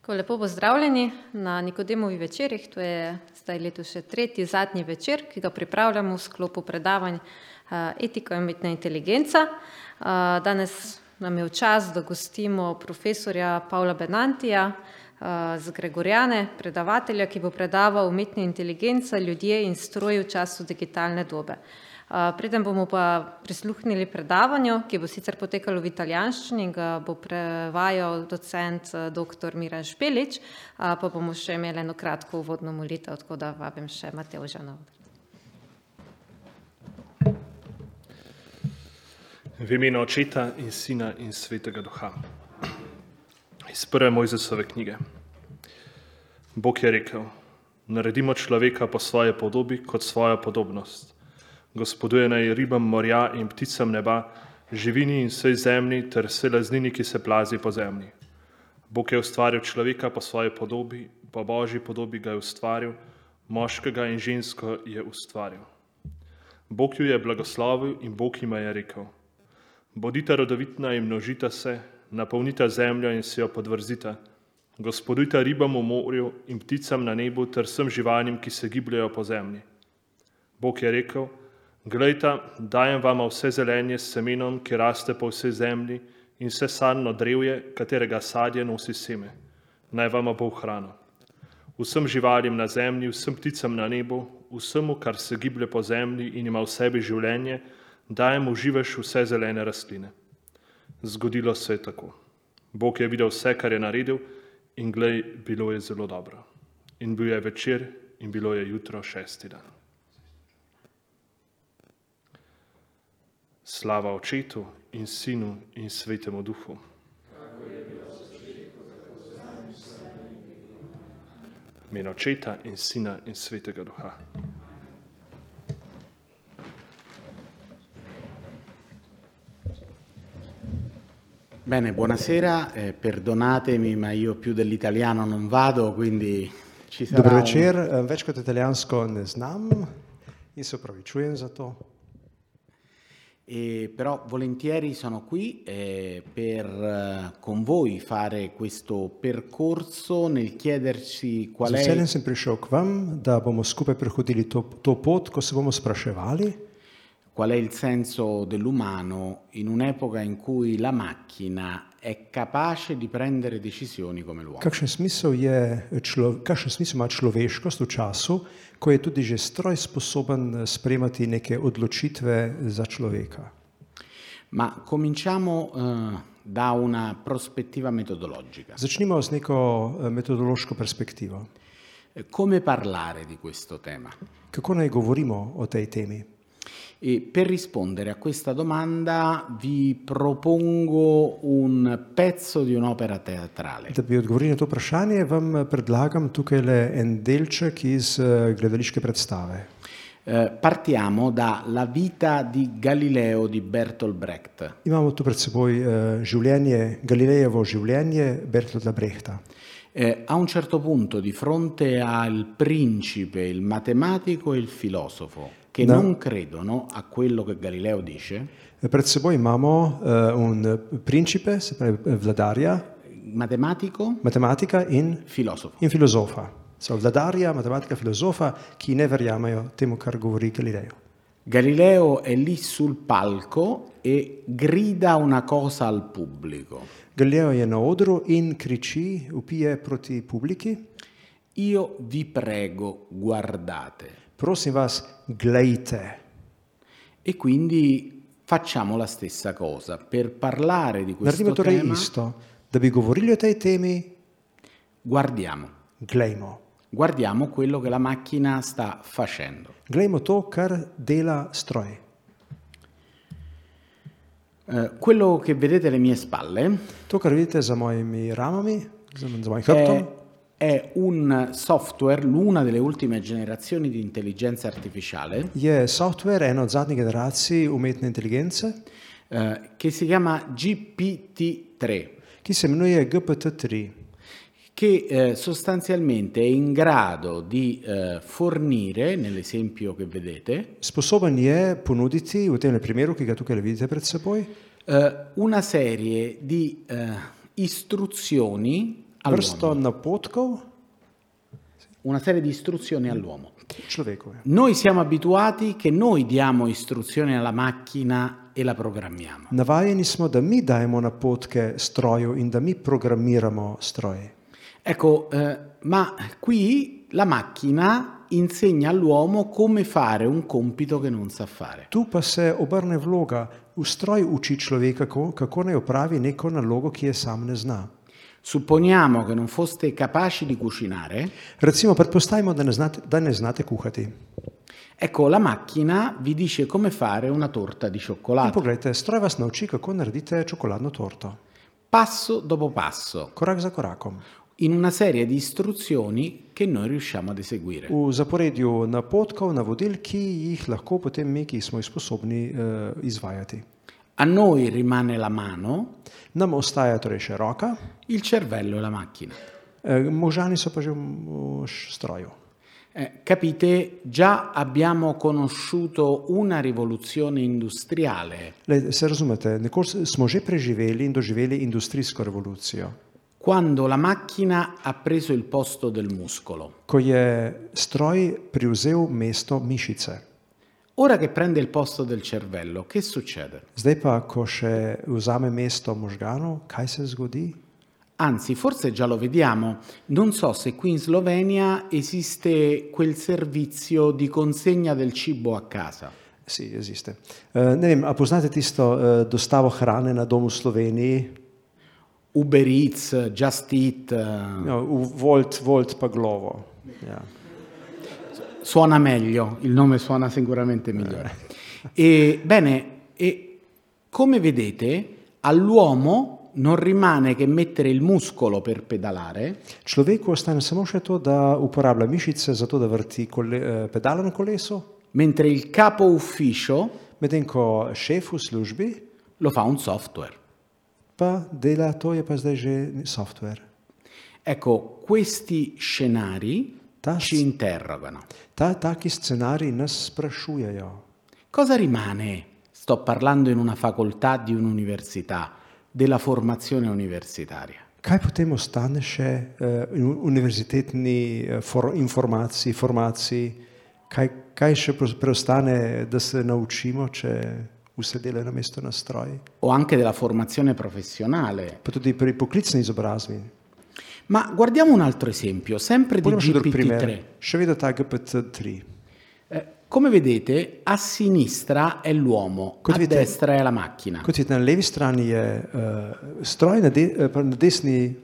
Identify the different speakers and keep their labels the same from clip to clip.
Speaker 1: Tako, lepo pozdravljeni na Nikodemovi večerih. To je zdaj letos še tretji, zadnji večer, ki ga pripravljamo v sklopu predavanj eh, Etika in umetna inteligenca. Eh, Danes nam je v čas, da gostimo profesorja Pavla Benantija eh, z Gregorjane, predavatelja, ki bo predaval umetna inteligenca, ljudje in stroji v času digitalne dobe. Eh, Preden bomo pa prisluhnili predavanju, ki bo sicer potekalo v italijanščini, in ga bo prevajal docent dr. Miran Špelič, eh, pa bomo še imeli eno kratko uvodno molitev, tako da vabim še Mateo Žanov.
Speaker 2: V imenu Očeta in Sina in Svetega Duha. Iz prve Mojzesove knjige. Bog je rekel: Naredimo človeka po svoji podobi, kot svojo podobnost. Gospoduje naj ribam morja in pticam neba, živini in vsej zemlji ter vse laznini, ki se plazi po zemlji. Bog je ustvaril človeka po svoji podobi, po božji podobi ga je ustvaril, moškega in žensko je ustvaril. Bog ju je blagoslovil in Bog jima je rekel: Bodite rodovitna in množita se, napolnita zemljo in si jo podvrzita. Gospodujte ribam v morju in pticam na nebu ter vsem živalim, ki se gibljajo po zemlji. Bog je rekel: Glejte, dajem vam vse zelenje s semenom, ki raste po vsej zemlji, in vse sadno drevje, katerega sadje nosi seme. Naj vam bo v hrano. Vsem živalim na zemlji, vsem pticam na nebu, vsemu, kar se giblje po zemlji in ima v sebi življenje, dajem v živež vse zelene rastline. Zgodilo se je tako. Bog je videl vse, kar je naredil, in glej, bilo je zelo dobro. In bil je večer, in bilo je jutro šesti dan. Slava Očetu in Sinu in Svetemu Duhu. Meno očeta in sina in svetega duha.
Speaker 3: Bene, buonasera, eh, perdonatemi ma io più dell'italiano non vado, quindi ci sarà
Speaker 4: Dober
Speaker 3: un-
Speaker 4: večer, Eh, več kot italijansko ne znam in se upravičujem za to.
Speaker 3: Eh, però volentieri sono qui eh, per eh, con voi fare questo percorso nel chiederci
Speaker 4: Z
Speaker 3: qual è,
Speaker 4: veseljem sem prišel k vam, da bomo skupaj prehodili to, to pot, ko se bomo spraševali,
Speaker 3: qual è il senso dell'umano in un'epoca in cui la macchina è capace di prendere decisioni come l'uomo.
Speaker 4: kakšen smisel, je, člo, kakšen smisel ima človeškost v času, ko je tudi že stroj sposoben eh, sprejemati neke odločitve za človeka.
Speaker 3: Ma cominciamo eh, da una prospettiva metodologica.
Speaker 4: Začnimo s neko eh, metodološko perspektivo.
Speaker 3: Eh, Come parlare di questo tema?
Speaker 4: Kako naj govorimo o tej temi?
Speaker 3: E per rispondere a questa domanda vi propongo un pezzo di un'opera teatrale.
Speaker 4: Da bi odgovorili na to vprašanje, vam eh, predlagam tukaj le en delček iz eh, gledališke predstave.
Speaker 3: Eh, partiamo da La vita di Galileo di Bertolt Brecht.
Speaker 4: Imamo tu pred seboj eh, življenje, Galilejevo življenje Bertolda Brehta.
Speaker 3: Eh, a un certo punto, di fronte al principe, il matematico e il filosofo, che
Speaker 4: Da.
Speaker 3: non credono a quello che Galileo dice,
Speaker 4: Pred seboj imamo eh, un principe, se pravi eh, vladarja,
Speaker 3: matematico,
Speaker 4: matematika in,
Speaker 3: filosofo.
Speaker 4: in filozofa. So, vladarja, matematika, filozofa, ki ne verjamejo temu, kar govori Galilejo.
Speaker 3: Galileo è lì sul palco e grida una cosa al pubblico.
Speaker 4: Galileo je na odru in kriči, upije proti publiki.
Speaker 3: Io vi prego, guardate.
Speaker 4: Prosim vas, glejte.
Speaker 3: E quindi facciamo la stessa cosa. Per parlare di questo
Speaker 4: Naredimo torej
Speaker 3: tema,
Speaker 4: isto, da bi govorili o tej temi,
Speaker 3: guardiamo.
Speaker 4: glejmo.
Speaker 3: Guardiamo quello che la macchina sta facendo.
Speaker 4: Glejmo to, kar dela stroj.
Speaker 3: Eh, quello che vedete alle mie spalle
Speaker 4: To, kar vidite za mojimi ramami, za, za mojim hrbtom,
Speaker 3: è, è un software, l'una delle ultime generazioni di intelligenza artificiale,
Speaker 4: je software ena od zadnjih generacij umetne inteligence,
Speaker 3: eh, che si chiama GPT-3,
Speaker 4: ki se imenuje GPT-3,
Speaker 3: che eh, sostanzialmente è in grado di eh, fornire, nell'esempio che vedete,
Speaker 4: sposoben je ponuditi, v tem primeru, ki ga tukaj vidite pred seboj,
Speaker 3: eh, una serie di eh, istruzioni
Speaker 4: vrsto napotkov
Speaker 3: una serie di istruzioni all'uomo.
Speaker 4: človeku. ja.
Speaker 3: Noi siamo abituati che noi diamo istruzioni alla macchina e la programmiamo.
Speaker 4: Navajeni smo, da mi dajemo napotke stroju in da mi programiramo stroje.
Speaker 3: Ecco, eh, ma qui la macchina insegna all'uomo come fare un compito che non sa fare.
Speaker 4: Tu pa se obrne vloga, ustroj uči človeka, kako, kako naj opravi neko nalogo, ki je sam ne zna.
Speaker 3: Supponiamo che non foste capaci di cucinare,
Speaker 4: Recimo, predpostavimo, da ne znate, da ne znate kuhati.
Speaker 3: ecco, la macchina vi dice come fare una torta di
Speaker 4: In
Speaker 3: cioccolato,
Speaker 4: poglejte, stroj vas nauči, kako naredite čokoladno torto,
Speaker 3: passo dopo passo,
Speaker 4: korak za korakom,
Speaker 3: in una serie di istruzioni che noi riusciamo ad eseguire.
Speaker 4: v zaporedju napotkov, navodil, ki jih lahko potem mi, ki smo jih sposobni eh, izvajati.
Speaker 3: A noi rimane la mano,
Speaker 4: Nam ostaja torej še roka,
Speaker 3: il cervello e la macchina.
Speaker 4: eh, možani so pa že v, v š- stroju.
Speaker 3: Eh, capite, già abbiamo conosciuto una rivoluzione industriale
Speaker 4: Lej, se razumete, nekoč smo že preživeli in doživeli industrijsko revolucijo,
Speaker 3: quando la macchina ha preso il posto del muscolo.
Speaker 4: ko je stroj privzel mesto mišice.
Speaker 3: Ora che prende il posto del cervello, che succede?
Speaker 4: Zdaj pa, ko še vzame mesto možganov, kaj se zgodi?
Speaker 3: Anzi, forse già lo vediamo, non so se qui in Slovenia esiste quel servizio di consegna del cibo a casa.
Speaker 4: Si, jeziste. Eh, Ne vem, a poznate tisto eh, dostavo hrane na domu v Sloveniji?
Speaker 3: Uber Eats, Just Eat, eh,
Speaker 4: No, v Volt, Volt pa Glovo. Ja.
Speaker 3: suona meglio, il nome suona sicuramente migliore. E, bene, e come vedete, all'uomo non rimane che mettere il muscolo per pedalare,
Speaker 4: Človeku ostane samo še to, da uporablja mišice za to, da vrti kole, eh, pedala na kolesu,
Speaker 3: mentre il capo ufficio
Speaker 4: medtem ko šef v službi
Speaker 3: lo fa un software.
Speaker 4: pa dela, to je pa zdaj že software.
Speaker 3: Ecco, questi scenari
Speaker 4: Tas.
Speaker 3: ci interrogano.
Speaker 4: Ta, taki scenariji nas sprašujejo.
Speaker 3: Cosa rimane? Sto parlando in una facoltà di un'università, della formazione universitaria.
Speaker 4: Kaj potem ostane še eh, in- univerzitetni eh, for, informaciji, formaciji, kaj, kaj še pre- preostane, da se naučimo, če vse delajo na mesto nastroj?
Speaker 3: o anche della formazione professionale.
Speaker 4: Pa tudi pri poklicni izobrazbi.
Speaker 3: Ma guardiamo un altro esempio, sempre di
Speaker 4: Pojdimo še drug primer,
Speaker 3: GPT-3.
Speaker 4: še vedno ta GPT-3.
Speaker 3: Eh, come vedete, a sinistra è l'uomo,
Speaker 4: Cosa
Speaker 3: a
Speaker 4: vedete?
Speaker 3: destra è la macchina.
Speaker 4: Kot vidite, na levi strani je uh, stroj, na, de, eh, pa na desni. eh,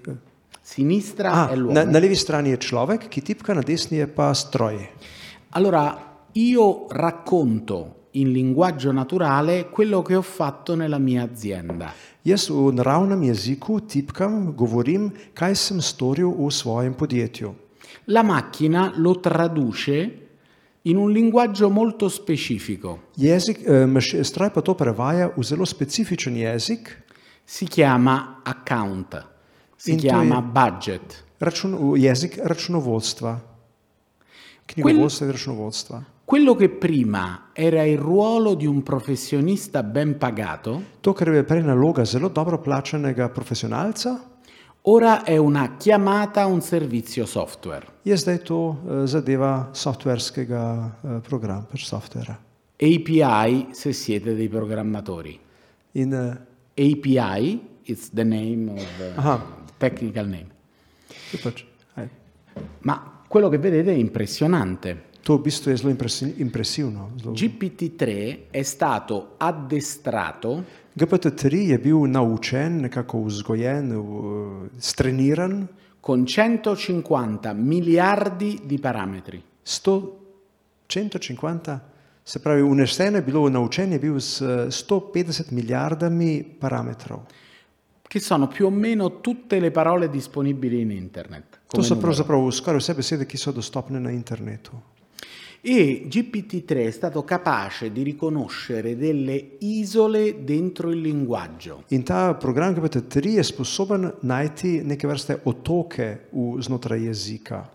Speaker 3: Sinistra
Speaker 4: A,
Speaker 3: è l'uomo.
Speaker 4: Ah, na, na levi strani je človek, ki tipka, na desni je pa stroj.
Speaker 3: Allora, io racconto in linguaggio naturale quello che ho fatto nella mia azienda.
Speaker 4: Jaz v naravnem jeziku tipkam, govorim, kaj sem storil v svojem podjetju.
Speaker 3: La macchina lo traduce in un linguaggio molto specifico.
Speaker 4: Jezik, eh, maš- stroj pa to prevaja v zelo specifičen jezik,
Speaker 3: Si chiama account, si
Speaker 4: In tu
Speaker 3: chiama
Speaker 4: è-
Speaker 3: budget.
Speaker 4: račun, v jezik računovodstva, knjigovodstva in računovodstva.
Speaker 3: Quello che prima era il ruolo di un professionista ben pagato,
Speaker 4: To, kar je prej naloga zelo dobro plačanega profesionalca,
Speaker 3: ora è una chiamata a un servizio software.
Speaker 4: je zdaj to eh, zadeva softverskega eh, programa, pač softvera.
Speaker 3: API se siete dei programmatori.
Speaker 4: In eh,
Speaker 3: API is the name of the
Speaker 4: Aha.
Speaker 3: technical name.
Speaker 4: to, pač, aj,
Speaker 3: Ma quello che vedete è impressionante.
Speaker 4: to v bistvu je zelo impresi, impresivno. Zelo.
Speaker 3: GPT-3 è stato addestrato
Speaker 4: GPT-3 je bil naučen, nekako vzgojen, v- streniran,
Speaker 3: con 150 miliardi di parametri.
Speaker 4: 100, 150, se pravi, unesen je bilo, naučen je bil s eh, 150 milijardami parametrov.
Speaker 3: che sono più o meno tutte le parole disponibili in internet.
Speaker 4: To
Speaker 3: come
Speaker 4: so
Speaker 3: numero.
Speaker 4: pravzaprav skoraj vse besede, ki so dostopne na internetu.
Speaker 3: E GPT-3 è stato capace di riconoscere delle isole dentro il linguaggio.
Speaker 4: In ta program GPT-3 je sposoben najti neke vrste otoke v, znotraj jezika.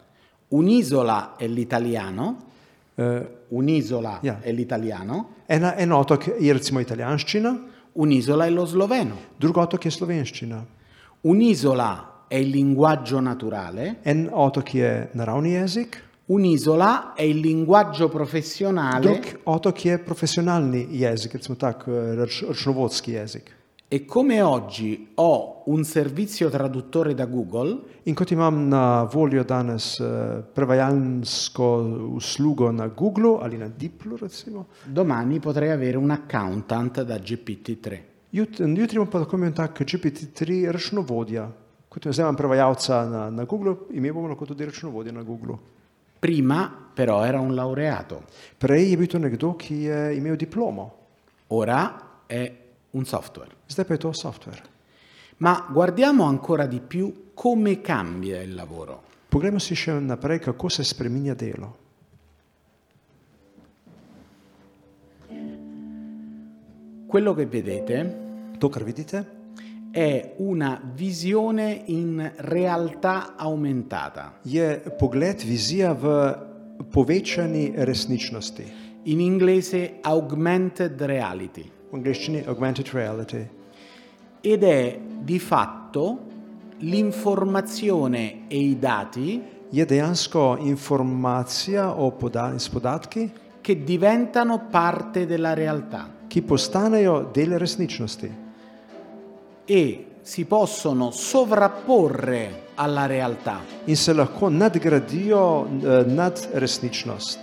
Speaker 3: Un'isola è l'italiano,
Speaker 4: Eh,
Speaker 3: un'isola
Speaker 4: Yeah.
Speaker 3: è l'italiano,
Speaker 4: Ena, en otok je recimo italijanščina,
Speaker 3: un'isola è lo sloveno,
Speaker 4: drug otok je slovenščina,
Speaker 3: un'isola è il linguaggio naturale,
Speaker 4: En otok je naravni jezik,
Speaker 3: un'isola è il linguaggio professionale
Speaker 4: dok otok je profesionalni jezik, recimo tak, eh, rač, računovodski jezik.
Speaker 3: e come oggi ho un servizio traduttore da Google,
Speaker 4: In kot imam na voljo danes eh, prevajalsko uslugo na Google ali na Diplu, recimo,
Speaker 3: domani potrei avere un accountant da GPT-3.
Speaker 4: jut, jutri bom pa lahko imel tak GPT-3 računovodja. Kot jaz imam prevajalca na, na Google, ime bom lahko tudi računovodja na Google.
Speaker 3: Prima però era un laureato,
Speaker 4: Prej je bil to nekdo, ki je imel diplomo,
Speaker 3: ora è un software.
Speaker 4: zdaj pa je to software.
Speaker 3: Ma guardiamo ancora di più come cambia il lavoro.
Speaker 4: Poglejmo si še naprej, kako se spreminja delo.
Speaker 3: Quello che vedete
Speaker 4: To, kar vidite,
Speaker 3: è una visione in realtà aumentata.
Speaker 4: je pogled, vizija v povečani resničnosti,
Speaker 3: In inglese augmented reality.
Speaker 4: v angleščini augmented reality.
Speaker 3: Ed è di fatto l'informazione e i dati
Speaker 4: Je dejansko informacija o poda s podatki,
Speaker 3: che diventano parte della realtà
Speaker 4: ki postanejo del resničnosti
Speaker 3: e si possono sovrapporre alla realtà.
Speaker 4: in se lahko nadgradijo eh, nad resničnost.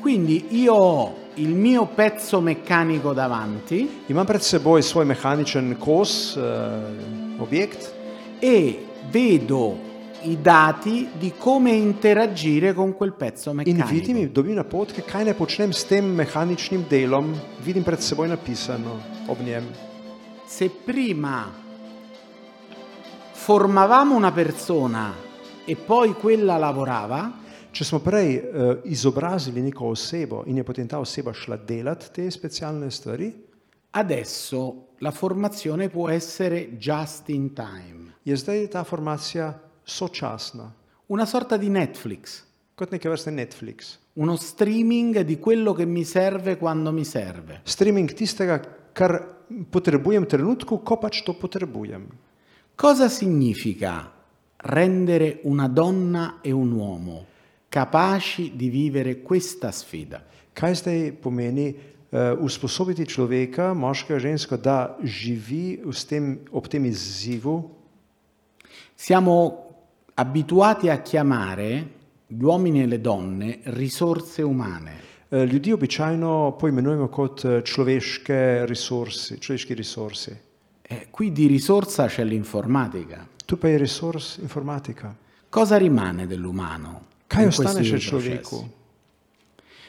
Speaker 3: Quindi io ho il mio pezzo meccanico davanti
Speaker 4: Imam pred seboj svoj mehaničen kos, eh, objekt,
Speaker 3: e vedo i dati di come interagire con quel pezzo
Speaker 4: In
Speaker 3: meccanico.
Speaker 4: vidim, in dobim napotke, kaj naj počnem s tem mehaničnim delom, vidim pred seboj napisano ob njem.
Speaker 3: Se prima formavamo una persona e poi quella lavorava,
Speaker 4: Če smo prej eh, izobrazili neko osebo in je potem ta oseba šla delati te specialne stvari,
Speaker 3: adesso la formazione può essere just in time,
Speaker 4: je zdaj ta formacija sočasna,
Speaker 3: una sorta di Netflix,
Speaker 4: kot neke vrste Netflix.
Speaker 3: uno streaming di quello che mi serve quando mi serve.
Speaker 4: Streaming tistega, kar potrebujem v trenutku, ko pač to potrebujem.
Speaker 3: Cosa significa rendere una donna e un uomo capaci di vivere questa sfida?
Speaker 4: Kaj zdaj pomeni eh, usposobiti človeka, moškega, žensko, da živi s tem, ob tem izzivu,
Speaker 3: Siamo abituati a chiamare gli uomini e le donne risorse umane.
Speaker 4: Eh, Ljudi običajno poimenujemo kot eh, človeške resursi, človeški resursi.
Speaker 3: Eh, qui di risorsa c'è l'informatica.
Speaker 4: Tu pa je resurs informatika.
Speaker 3: Cosa rimane dell'umano?
Speaker 4: Kaj
Speaker 3: in
Speaker 4: ostane
Speaker 3: questi
Speaker 4: še
Speaker 3: due processi?
Speaker 4: človeku?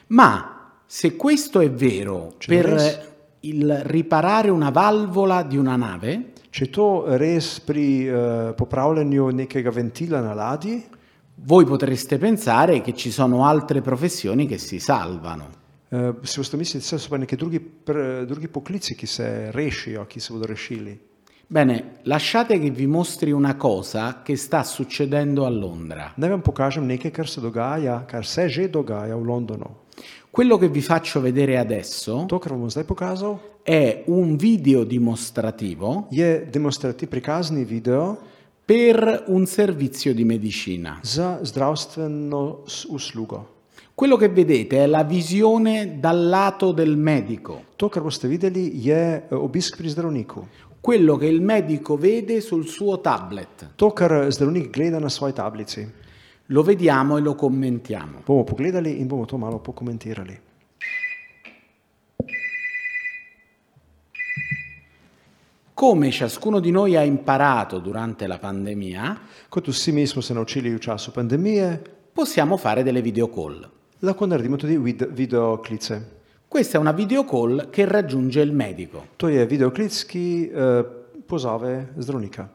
Speaker 3: Ma se questo è vero
Speaker 4: Ci dovresti-
Speaker 3: per il riparare una valvola di una nave,
Speaker 4: Če je to res pri eh, popravljanju nekega ventila na ladji,
Speaker 3: Voi potreste pensare che ci sono altre professioni che si salvano.
Speaker 4: eh, si boste mislili, da so pa neki drugi, pr- drugi poklici, ki se rešijo, ki se bodo rešili.
Speaker 3: Bene, lasciate che vi mostri una cosa che sta succedendo a Londra.
Speaker 4: Naj vam pokažem nekaj, kar se dogaja, kar se že dogaja v Londonu.
Speaker 3: Quello che vi faccio vedere adesso
Speaker 4: To, kar vam bom zdaj pokazal,
Speaker 3: è un video dimostrativo
Speaker 4: je demonstrativ prikazni video
Speaker 3: per un servizio di medicina.
Speaker 4: za zdravstveno s- uslugo.
Speaker 3: Quello che vedete è la visione dal lato del medico,
Speaker 4: To, kar boste videli, je eh, obisk pri zdravniku.
Speaker 3: quello che il medico vede sul suo tablet.
Speaker 4: To, kar zdravnik gleda na svoji tablici,
Speaker 3: Lo vediamo e lo commentiamo.
Speaker 4: bomo pogledali in bomo to malo pokomentirali.
Speaker 3: Come ciascuno di noi ha imparato durante la pandemia,
Speaker 4: Kot vsi mi smo se naučili v času pandemije,
Speaker 3: possiamo fare delle video call.
Speaker 4: lahko naredimo tudi vid videoklice.
Speaker 3: Questa è una video call che raggiunge il medico.
Speaker 4: To je videoklic, ki eh, pozove zdravnika.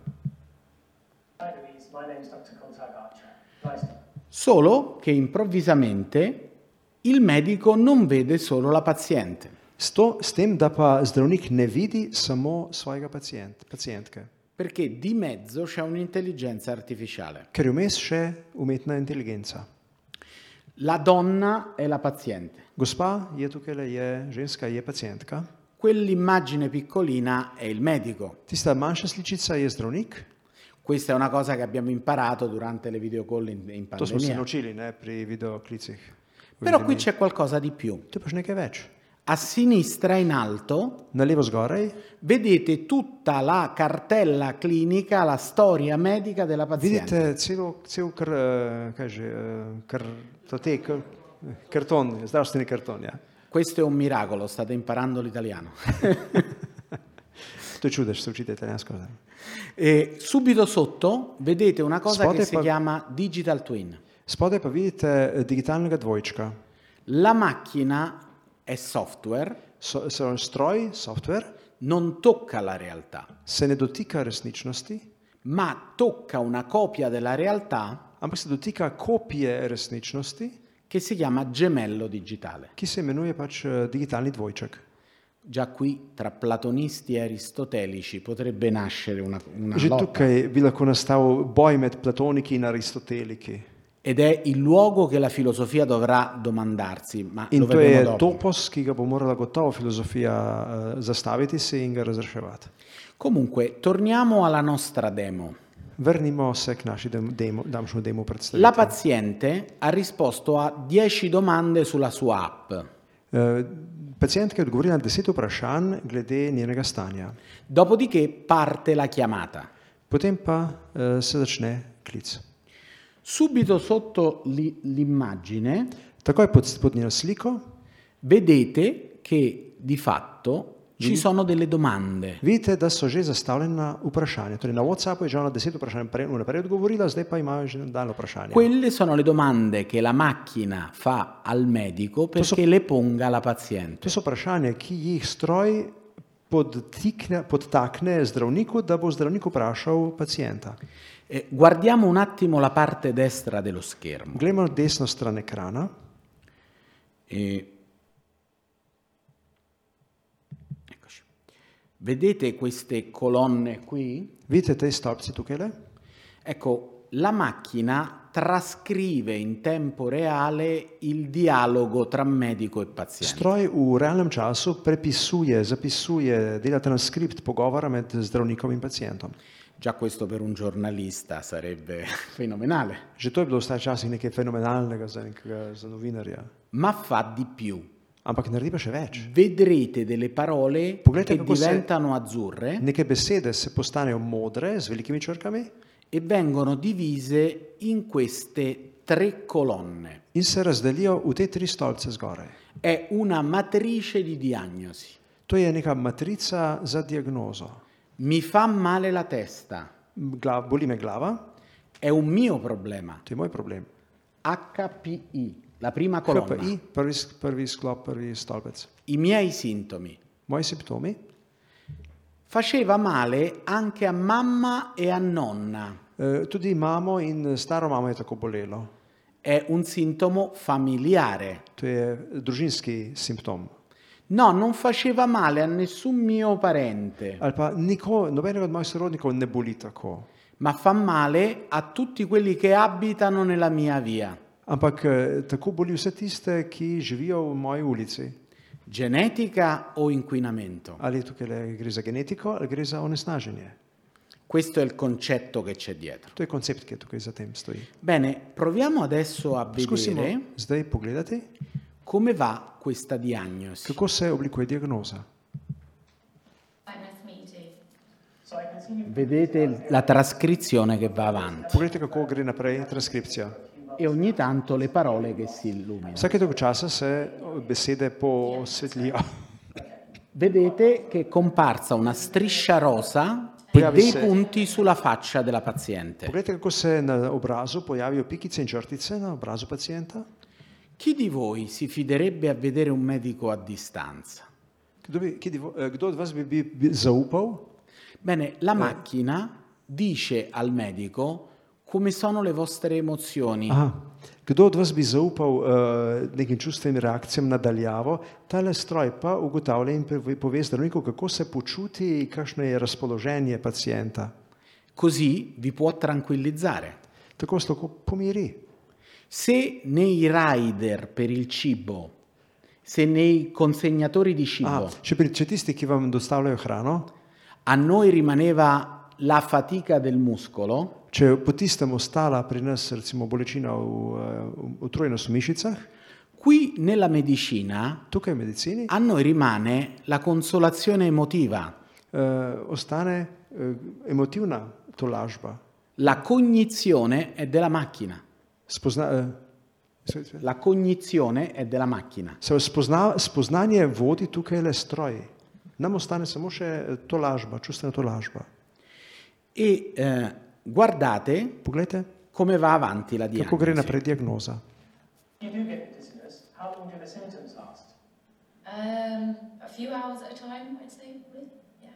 Speaker 5: Hi Louise, my name is Dr. Kontak Archer. Nice to
Speaker 3: Solo che improvvisamente il medico non vede solo la paziente,
Speaker 4: S, to, s tem, da pa zdravnik ne vidi samo svojega pacient, pacijentke,
Speaker 3: perché di mezzo c'è un'intelligenza artificiale.
Speaker 4: ker je vmes še umetna inteligenca.
Speaker 3: La donna è la paziente,
Speaker 4: Gospa je tukaj, je ženska, je pacijentka.
Speaker 3: quell'immagine piccolina è il medico,
Speaker 4: Tista manjša sličica je zdravnik,
Speaker 3: Questa è una cosa che abbiamo imparato durante le video call in, in
Speaker 4: To smo
Speaker 3: pandemia.
Speaker 4: se naučili ne, no, pri videoklicih. v
Speaker 3: Però qui
Speaker 4: pandemiji.
Speaker 3: c'è qualcosa di più.
Speaker 4: To je pač nekaj več.
Speaker 3: A sinistra in alto
Speaker 4: Na levo zgoraj
Speaker 3: vedete tutta la cartella clinica, la storia medica della paziente.
Speaker 4: vidite celo, cel kar, eh, kaj že, eh, kar, to te, kar, karton, zdravstveni karton. Ja.
Speaker 3: Questo è un miracolo, state imparando l'italiano.
Speaker 4: To je čudež, se učite italijansko. Ne?
Speaker 3: E subito sotto vedete una cosa che
Speaker 4: Spotify-
Speaker 3: si chiama Digital Twin.
Speaker 4: Spodaj pa vidite eh, digitalnega dvojčka.
Speaker 3: La macchina è software,
Speaker 4: So, so, stroj, software,
Speaker 3: non tocca la realtà,
Speaker 4: se ne dotika resničnosti,
Speaker 3: ma tocca una copia della realtà
Speaker 4: ampak se dotika kopije resničnosti,
Speaker 3: che si chiama gemello digitale.
Speaker 4: ki se imenuje pač eh, digitalni dvojček.
Speaker 3: Già qui tra platonisti e aristotelici potrebbe nascere una, una
Speaker 4: Že
Speaker 3: lotta.
Speaker 4: tukaj bi lahko nastal boj med platoniki in aristoteliki.
Speaker 3: Ed è il luogo che la filosofia dovrà domandarsi, ma
Speaker 4: In
Speaker 3: lo
Speaker 4: to je
Speaker 3: vedremo dopo.
Speaker 4: topos, ki ga bo morala gotovo filozofija eh, zastaviti si in ga razreševati.
Speaker 3: Comunque, torniamo alla nostra demo.
Speaker 4: Vrnimo se k naši dem- demo, damšnjo
Speaker 3: La
Speaker 4: demo predstavitvi.
Speaker 3: paziente ha risposto a 10 domande sulla sua app.
Speaker 4: Eh, Pacijentka je odgovorila na deset vprašanj glede njenega stanja.
Speaker 3: Dopodiché parte la chiamata.
Speaker 4: Potem pa eh, se začne klic.
Speaker 3: Subito sotto l'i- l'immagine
Speaker 4: Takoj pod, pod njeno sliko
Speaker 3: vedete che di fatto ci sono delle domande.
Speaker 4: vidite, da so že zastavljena vprašanja. Torej na WhatsAppu je že ona deset vprašanj prej- vnaprej odgovorila, zdaj pa imajo že nadaljno vprašanje.
Speaker 3: Quelle sono le domande che la macchina fa al medico perché le ponga la paziente.
Speaker 4: To so vprašanja, ki jih stroj podtikne, podtakne zdravniku, da bo zdravnik vprašal pacijenta.
Speaker 3: Eh, guardiamo un attimo la parte destra dello schermo.
Speaker 4: Glejmo desno stran ekrana.
Speaker 3: E- Eccoci. Vedete queste colonne qui?
Speaker 4: Vidite te stolpce tukaj? Le?
Speaker 3: Ecco, la macchina trascrive in tempo reale il dialogo tra medico e paziente.
Speaker 4: Stroj v realnem času prepisuje, zapisuje, dela transkript pogovora med zdravnikom in pacijentom.
Speaker 3: Già questo per un giornalista sarebbe fenomenale,
Speaker 4: Že to je bilo včasih nekaj fenomenalnega za, nekega, za novinarja.
Speaker 3: ma fa di più.
Speaker 4: Ampak naredi pa še več.
Speaker 3: Vedrete delle parole
Speaker 4: Poglietate
Speaker 3: che
Speaker 4: che cos'è-
Speaker 3: diventano azzurre
Speaker 4: Neke besede se postanejo modre z velikimi črkami
Speaker 3: e vengono divise in queste tre colonne.
Speaker 4: in se razdelijo v te tri stolpce zgoraj.
Speaker 3: È una matrice di diagnosi.
Speaker 4: To je neka matrica za diagnozo.
Speaker 3: Mi fa male la testa,
Speaker 4: Gla, boli me glava,
Speaker 3: è un mio problema.
Speaker 4: to je moj problem.
Speaker 3: HPI, la prima colonna.
Speaker 4: KPI, prvi, sk- prvi sklop, prvi stolpec.
Speaker 3: I miei sintomi.
Speaker 4: Moji simptomi.
Speaker 3: Faceva male anche a mamma e a nonna.
Speaker 4: Eh, Tudi imamo in staro mamo je tako bolelo.
Speaker 3: È un sintomo familiare.
Speaker 4: To je družinski simptom.
Speaker 3: No, non faceva male a nessun mio parente,
Speaker 4: Ali pa niko, nobenega od mojih sorodnikov ne boli tako.
Speaker 3: ma fa male a tutti quelli che abitano nella mia via.
Speaker 4: Ampak eh, tako boli vse tiste, ki živijo v moji ulici.
Speaker 3: Genetica o inquinamento?
Speaker 4: Ali tukaj le gre za genetiko ali gre za onesnaženje.
Speaker 3: Questo è il concetto che c'è dietro.
Speaker 4: To je koncept, ki je tukaj za tem stoji.
Speaker 3: Bene, proviamo adesso a
Speaker 4: Poskusimo
Speaker 3: vedere
Speaker 4: zdaj pogledati,
Speaker 3: come va questa diagnosi.
Speaker 4: kako se oblikuje diagnoza.
Speaker 6: I must meet you.
Speaker 5: So I continue
Speaker 3: Vedete la trascrizione che va avanti
Speaker 4: Poglejte, kako gre naprej transkripcija.
Speaker 3: e ogni tanto le parole che si illuminano.
Speaker 4: Vsake toliko časa se besede posvetlijo.
Speaker 3: Vedete che è comparsa una striscia rosa e
Speaker 4: Bravi
Speaker 3: dei
Speaker 4: se-
Speaker 3: punti sulla faccia della paziente.
Speaker 4: Poglejte, kako se na obrazu pojavijo pikice in črtice na obrazu pacijenta.
Speaker 3: Chi di voi si fiderebbe a vedere un medico a distanza?
Speaker 4: Kdo, bi, ki, divo- eh, kdo od vas bi, bi, bi zaupal?
Speaker 3: Bene, la macchina dice al medico come sono le vostre emozioni.
Speaker 4: Aha. Kdo od vas bi zaupal uh, nekim čustvenim reakcijam nadaljavo, tale stroj pa ugotavlja in pove- pove zdravniku, kako se počuti, kakšno je razpoloženje pacijenta.
Speaker 3: Così vi può tranquillizzare.
Speaker 4: Tako se lahko pomiri.
Speaker 3: Se nei rider per il cibo, se nei consegnatori di cibo
Speaker 4: Ah. Aha, če, pri, če tisti, ki vam dostavljajo hrano,
Speaker 3: a noi rimaneva la fatica del muscolo,
Speaker 4: Če potisnemo stala pri nas, recimo bolečina v eh, utrujenost v mišicah,
Speaker 3: qui nella medicina
Speaker 4: tukaj v medicini,
Speaker 3: a noi rimane la consolazione emotiva,
Speaker 4: eh, ostane eh, emotivna tolažba.
Speaker 3: la cognizione è della macchina.
Speaker 4: Spozna, eh, se- se-
Speaker 3: La cognizione è della macchina.
Speaker 4: se spozna, spoznanje vodi tukaj le stroj. Nam ostane samo še eh, tolažba, čustvena tolažba.
Speaker 3: E eh, guardate
Speaker 4: Poglejte,
Speaker 3: come va avanti la
Speaker 4: kako gre
Speaker 3: diagnosi.
Speaker 4: naprej diagnoza.
Speaker 5: If you do get dizziness, how long do the symptoms last?
Speaker 6: Um, a few hours at a time, I'd say. Really? Yeah.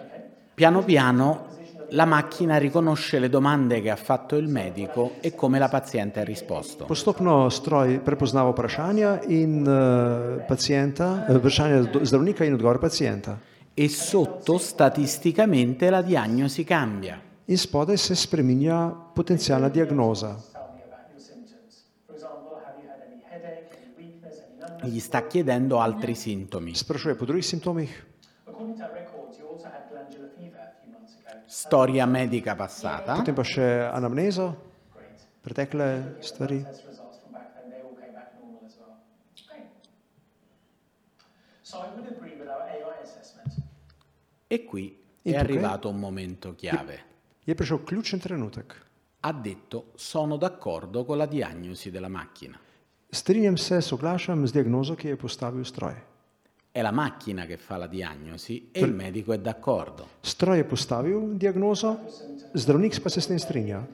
Speaker 5: Okay.
Speaker 3: Piano piano la macchina riconosce le domande che ha fatto il medico e come la paziente ha risposto.
Speaker 4: Postopno stroj prepoznava vprašanja in uh, pacijenta, eh, vprašanja zdo- zdravnika in odgovor pacijenta.
Speaker 3: E sotto statisticamente la diagnosi cambia.
Speaker 4: In spodaj se spreminja potencijalna diagnoza.
Speaker 5: Tell me about your symptoms. For example, have you had any headache, any weakness, any numbness?
Speaker 3: Gli sta chiedendo altri sintomi.
Speaker 4: Sprašuje po drugih simptomih,
Speaker 5: According to our records, you also had glandular fever a few months ago.
Speaker 3: Storia medica passata.
Speaker 4: potem pa še anamnezo,
Speaker 5: Great.
Speaker 4: pretekle stvari.
Speaker 5: Test results from back then, they all came back normal as well.
Speaker 6: Great.
Speaker 5: So I would agree with our AI assessment.
Speaker 3: E qui
Speaker 4: In
Speaker 3: è
Speaker 4: tutto, eh?
Speaker 3: arrivato un momento chiave.
Speaker 4: Je prišel ključen trenutek.
Speaker 3: Ha detto sono d'accordo con la diagnosi della macchina.
Speaker 4: Strinjam se, soglašam z diagnozo, ki jo je postavil stroj.
Speaker 3: È la macchina che fa la diagnosi e il medico è d'accordo.
Speaker 4: Stroj je postavil diagnozo, zdravnik pa se s tem strinja.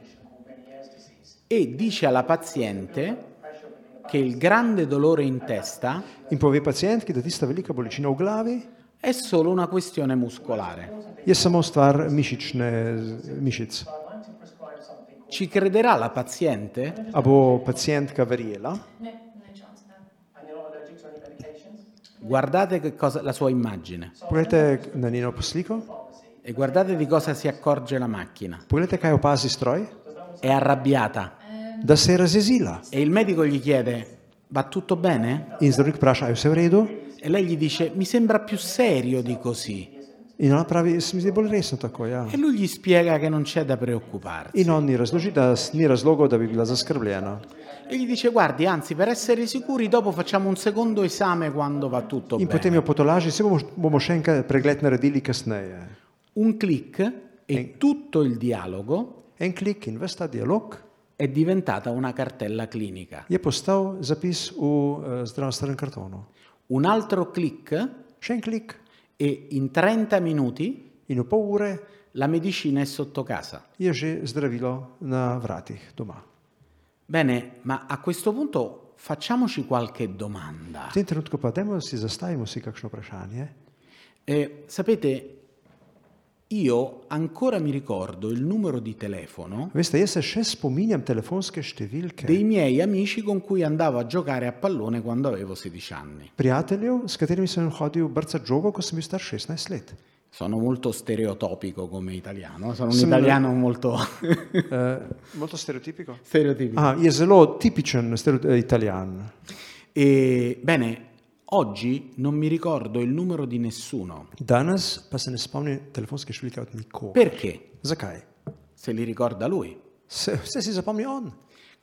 Speaker 3: E dice alla paziente che il grande dolore in testa
Speaker 4: In pove pacijentki, da tista velika bolečina v glavi
Speaker 3: è solo una questione muscolare.
Speaker 4: je samo stvar mišične, mišic.
Speaker 3: Ci crederà la paziente?
Speaker 4: A bo pacijentka verjela?
Speaker 6: No, no chance now.
Speaker 5: And you're not allergic to any medications?
Speaker 3: Guardate che cosa, la sua immagine
Speaker 4: Poglejte na njeno posliko,
Speaker 3: e guardate di cosa si accorge la macchina.
Speaker 4: poglejte, kaj opazi stroj,
Speaker 3: È arrabbiata
Speaker 4: da se je razjezila.
Speaker 3: e il medico gli chiede va tutto bene?
Speaker 4: In zdravnik vpraša, je vse v redu?
Speaker 3: E lei gli dice mi sembra più serio di così.
Speaker 4: In ona pravi, se mi zdi bolj resno tako. Ja.
Speaker 3: E lui gli spiega che non c'è da preoccuparsi.
Speaker 4: In on mi razloži, da s- ni razlogov, da bi bila zaskrbljena.
Speaker 3: E gli dice guardi anzi per essere sicuri dopo facciamo un secondo esame quando va tutto
Speaker 4: In potem
Speaker 3: bene.
Speaker 4: jo potolaži, se bomo, bomo še enkrat pregled naredili kasneje.
Speaker 3: Un click e tutto il dialogo
Speaker 4: En klik in ves ta dialog
Speaker 3: è diventata una cartella clinica.
Speaker 4: je postal zapis v eh, zdravstvenem kartonu.
Speaker 3: Un altro click
Speaker 4: Še en klik
Speaker 3: e in 30 minuti
Speaker 4: in v pol ure
Speaker 3: la medicina è sotto casa.
Speaker 4: je že zdravilo na vratih doma.
Speaker 3: Bene, ma a questo punto facciamoci qualche domanda.
Speaker 4: V tem trenutku pa dajmo si zastavimo si kakšno vprašanje.
Speaker 3: Eh, sapete, io ancora mi ricordo il numero di telefono
Speaker 4: Veste, jaz se še spominjam telefonske številke
Speaker 3: dei miei amici con cui andavo a giocare a pallone quando avevo 16 anni.
Speaker 4: prijateljev, s katerimi sem hodil brca žogo, ko sem bil star 16 let.
Speaker 3: Sono molto stereotopico come italiano, sono un
Speaker 4: Sono-
Speaker 3: italiano molto
Speaker 4: Molto stereotipico.
Speaker 3: stereotipico.
Speaker 4: Ah, je zelo tipičen stereo- eh, italijan.
Speaker 3: E, bene, oggi non mi ricordo il numero di nessuno.
Speaker 4: Danes pa se ne spomnim telefonske številke od nikogar.
Speaker 3: Perché?
Speaker 4: Zakaj?
Speaker 3: Se li ricorda lui.
Speaker 4: Se, vse si zapomni on.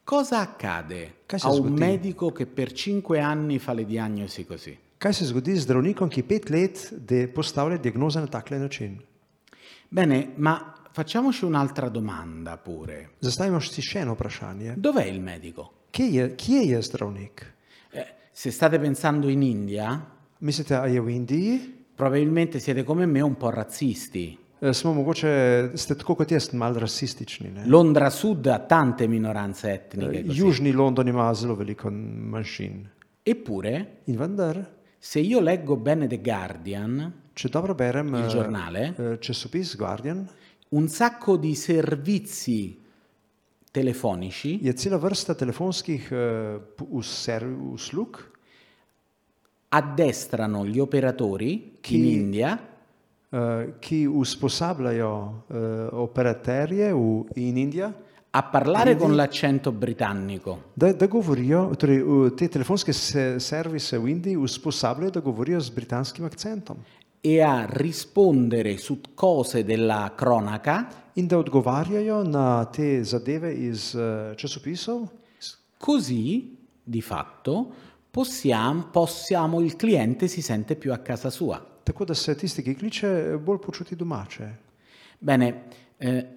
Speaker 3: Cosa accade
Speaker 4: Kaj si
Speaker 3: a un
Speaker 4: zgodi?
Speaker 3: medico che per 5 anni fa le diagnosi così?
Speaker 4: Kaj se zgodi z zdravnikom, ki pet let de- postavlja diagnoze na takle način?
Speaker 3: Bene, ma facciamoci un'altra domanda pure.
Speaker 4: Zastavimo si še eno vprašanje.
Speaker 3: Dov'è il medico?
Speaker 4: Kje je, kje je zdravnik?
Speaker 3: Eh, se state pensando in India,
Speaker 4: Mislite, a je v Indiji?
Speaker 3: probabilmente siete come me un po' razzisti.
Speaker 4: Eh, Smo mogoče, ste tako kot jaz, malo rasistični. Ne?
Speaker 3: Londra Sud ha tante minoranze etniche. così.
Speaker 4: Južni London ima zelo veliko manjšin.
Speaker 3: Eppure,
Speaker 4: In vendar,
Speaker 3: se io leggo bene The Guardian,
Speaker 4: če dobro berem eh,
Speaker 3: il giornale,
Speaker 4: eh, časopis Guardian,
Speaker 3: un sacco di servizi telefonici
Speaker 4: je cela vrsta telefonskih eh, p- user- uslug,
Speaker 3: addestrano gli operatori
Speaker 4: Chi-
Speaker 3: in India
Speaker 4: eh, ki usposabljajo eh, operaterje v, in Indija,
Speaker 3: a parlare con l'accento britannico.
Speaker 4: da, da govorijo, torej eh, te telefonske se, servise v Indiji usposabljajo, da govorijo z britanskim akcentom.
Speaker 3: e a rispondere su cose della cronaca,
Speaker 4: in da odgovarjajo na te zadeve iz eh, časopisov, s-
Speaker 3: così di fatto possiamo, possiamo- il cliente si sente più a casa sua.
Speaker 4: tako da se tisti, ki kliče, bolj počuti domače.
Speaker 3: Bene, eh,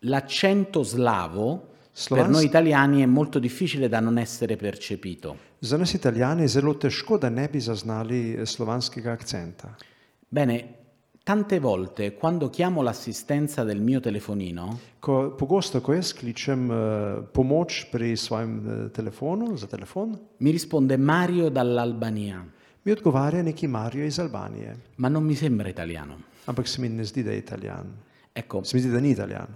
Speaker 3: l'accento slavo
Speaker 4: Slovansk-
Speaker 3: per noi italiani è molto difficile da non essere percepito.
Speaker 4: Za nas italijane je zelo težko, da ne bi zaznali eh, slovanskega akcenta.
Speaker 3: Bene, tante volte quando chiamo l'assistenza del mio telefonino,
Speaker 4: Ko, pogosto, ko jaz kličem eh, pomoč pri svojem eh, telefonu, za telefon,
Speaker 3: mi risponde Mario dall'Albania,
Speaker 4: mi odgovarja neki Mario iz Albanije,
Speaker 3: ma non mi sembra italiano.
Speaker 4: ampak se mi ne zdi, da je italijan.
Speaker 3: Ecco,
Speaker 4: Se mi zdi, da ni italijan.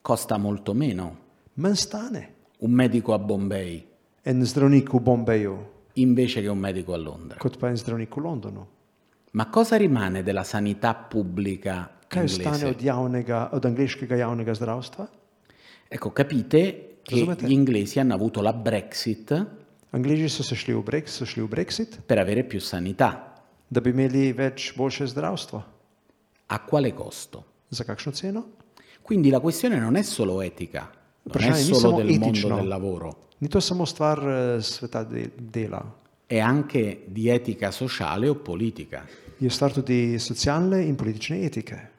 Speaker 3: costa molto meno
Speaker 4: Manj stane
Speaker 3: un medico a Bombay
Speaker 4: en zdravnik v Bombeju,
Speaker 3: invece che un medico a Londra.
Speaker 4: kot pa en zdravnik v Londonu.
Speaker 3: Ma cosa rimane della sanità pubblica
Speaker 4: Kaj ostane
Speaker 3: inglese?
Speaker 4: od, javnega, od angliškega javnega zdravstva?
Speaker 3: Ecco, capite che
Speaker 4: Presumete.
Speaker 3: gli inglesi hanno avuto la Brexit
Speaker 4: Angliži so se šli v, brek, so šli v Brexit,
Speaker 3: per avere più sanità.
Speaker 4: da bi imeli več boljše zdravstvo.
Speaker 3: A quale costo?
Speaker 4: Za kakšno ceno?
Speaker 3: Quindi la questione non è solo etica, non è
Speaker 4: Bravo,
Speaker 3: solo
Speaker 4: siamo
Speaker 3: del
Speaker 4: etici,
Speaker 3: mondo
Speaker 4: no?
Speaker 3: del lavoro,
Speaker 4: Ni to samo stvar eh, sveta de, dela,
Speaker 3: è anche di etica sociale o politica.
Speaker 4: je stvar tudi socialne in politične etike.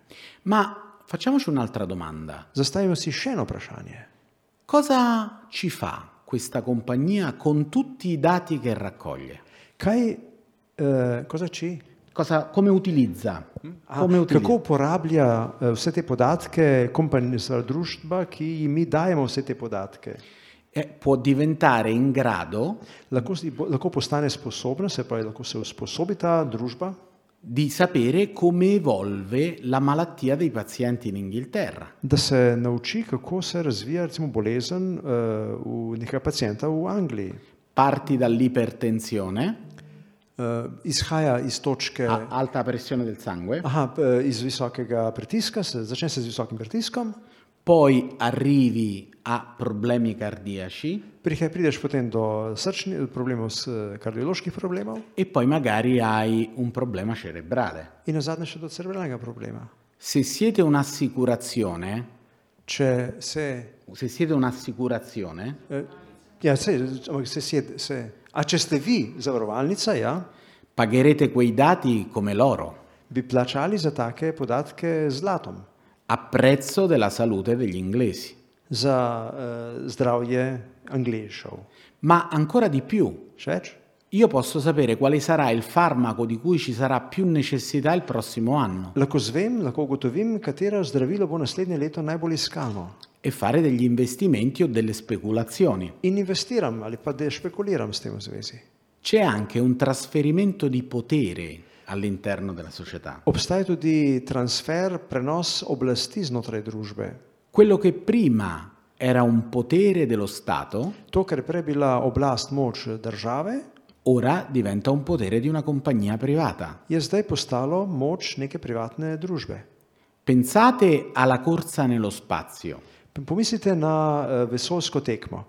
Speaker 3: Ma facciamoci un'altra domanda.
Speaker 4: Zastavimo si še eno vprašanje.
Speaker 3: Cosa ci fa questa compagnia con tutti i dati che raccoglie?
Speaker 4: Kaj, eh, cosa ci?
Speaker 3: Cosa- come utilizza?
Speaker 4: A,
Speaker 3: Come utilizza?
Speaker 4: kako uporablja eh, vse te podatke kompanija, družba, ki ji mi dajemo vse te podatke?
Speaker 3: Eh, può diventare in grado
Speaker 4: Lahko, si bo- lahko postane sposobna, se pravi, lahko se usposobi ta družba,
Speaker 3: di sapere come evolve la malattia dei pazienti in Inghilterra.
Speaker 4: da se nauči, kako se razvija recimo, bolezen eh, v nekega pacijenta v Angliji.
Speaker 3: Parti dall'ipertensione,
Speaker 4: Eh, izhaja iz točke.
Speaker 3: a- alta pressione del sangue,
Speaker 4: Aha, eh, iz visokega pritiska, se, začne se z visokim pritiskom,
Speaker 3: poi arrivi a problemi cardiaci
Speaker 4: prihaj, prideš potem do srčnih problemov, s, eh, kardioloških problemov
Speaker 3: e poi magari hai un problema cerebrale.
Speaker 4: in na zadnje še do cerebralnega problema.
Speaker 3: Se siete un'assicurazione,
Speaker 4: Če se,
Speaker 3: se siete un'assicurazione,
Speaker 4: eh, ja, se, ampak se, sjed, se, a če ste vi zavarovalnica, ja,
Speaker 3: pagherete quei dati come loro,
Speaker 4: bi plačali za take podatke z zlatom,
Speaker 3: a prezzo della salute degli inglesi.
Speaker 4: za eh, zdravje anglišov.
Speaker 3: Ma ancora di più,
Speaker 4: Še več?
Speaker 3: io posso sapere quale sarà il farmaco di cui ci sarà più necessità il prossimo anno
Speaker 4: Lahko zvem, lahko ugotovim, katero zdravilo bo naslednje leto najbolj iskano.
Speaker 3: e fare degli investimenti o delle speculazioni.
Speaker 4: In investiram ali pa da špekuliram s tem v zvezi.
Speaker 3: C'è anche un trasferimento di potere all'interno della società.
Speaker 4: Obstaja tudi transfer, prenos oblasti znotraj družbe.
Speaker 3: Quello che prima era un potere dello Stato,
Speaker 4: To, kar je prej bila oblast moč države,
Speaker 3: ora diventa un potere di una compagnia privata.
Speaker 4: je zdaj postalo moč neke privatne družbe.
Speaker 3: Pensate alla corsa nello spazio.
Speaker 4: Pomislite na eh, vesolsko tekmo.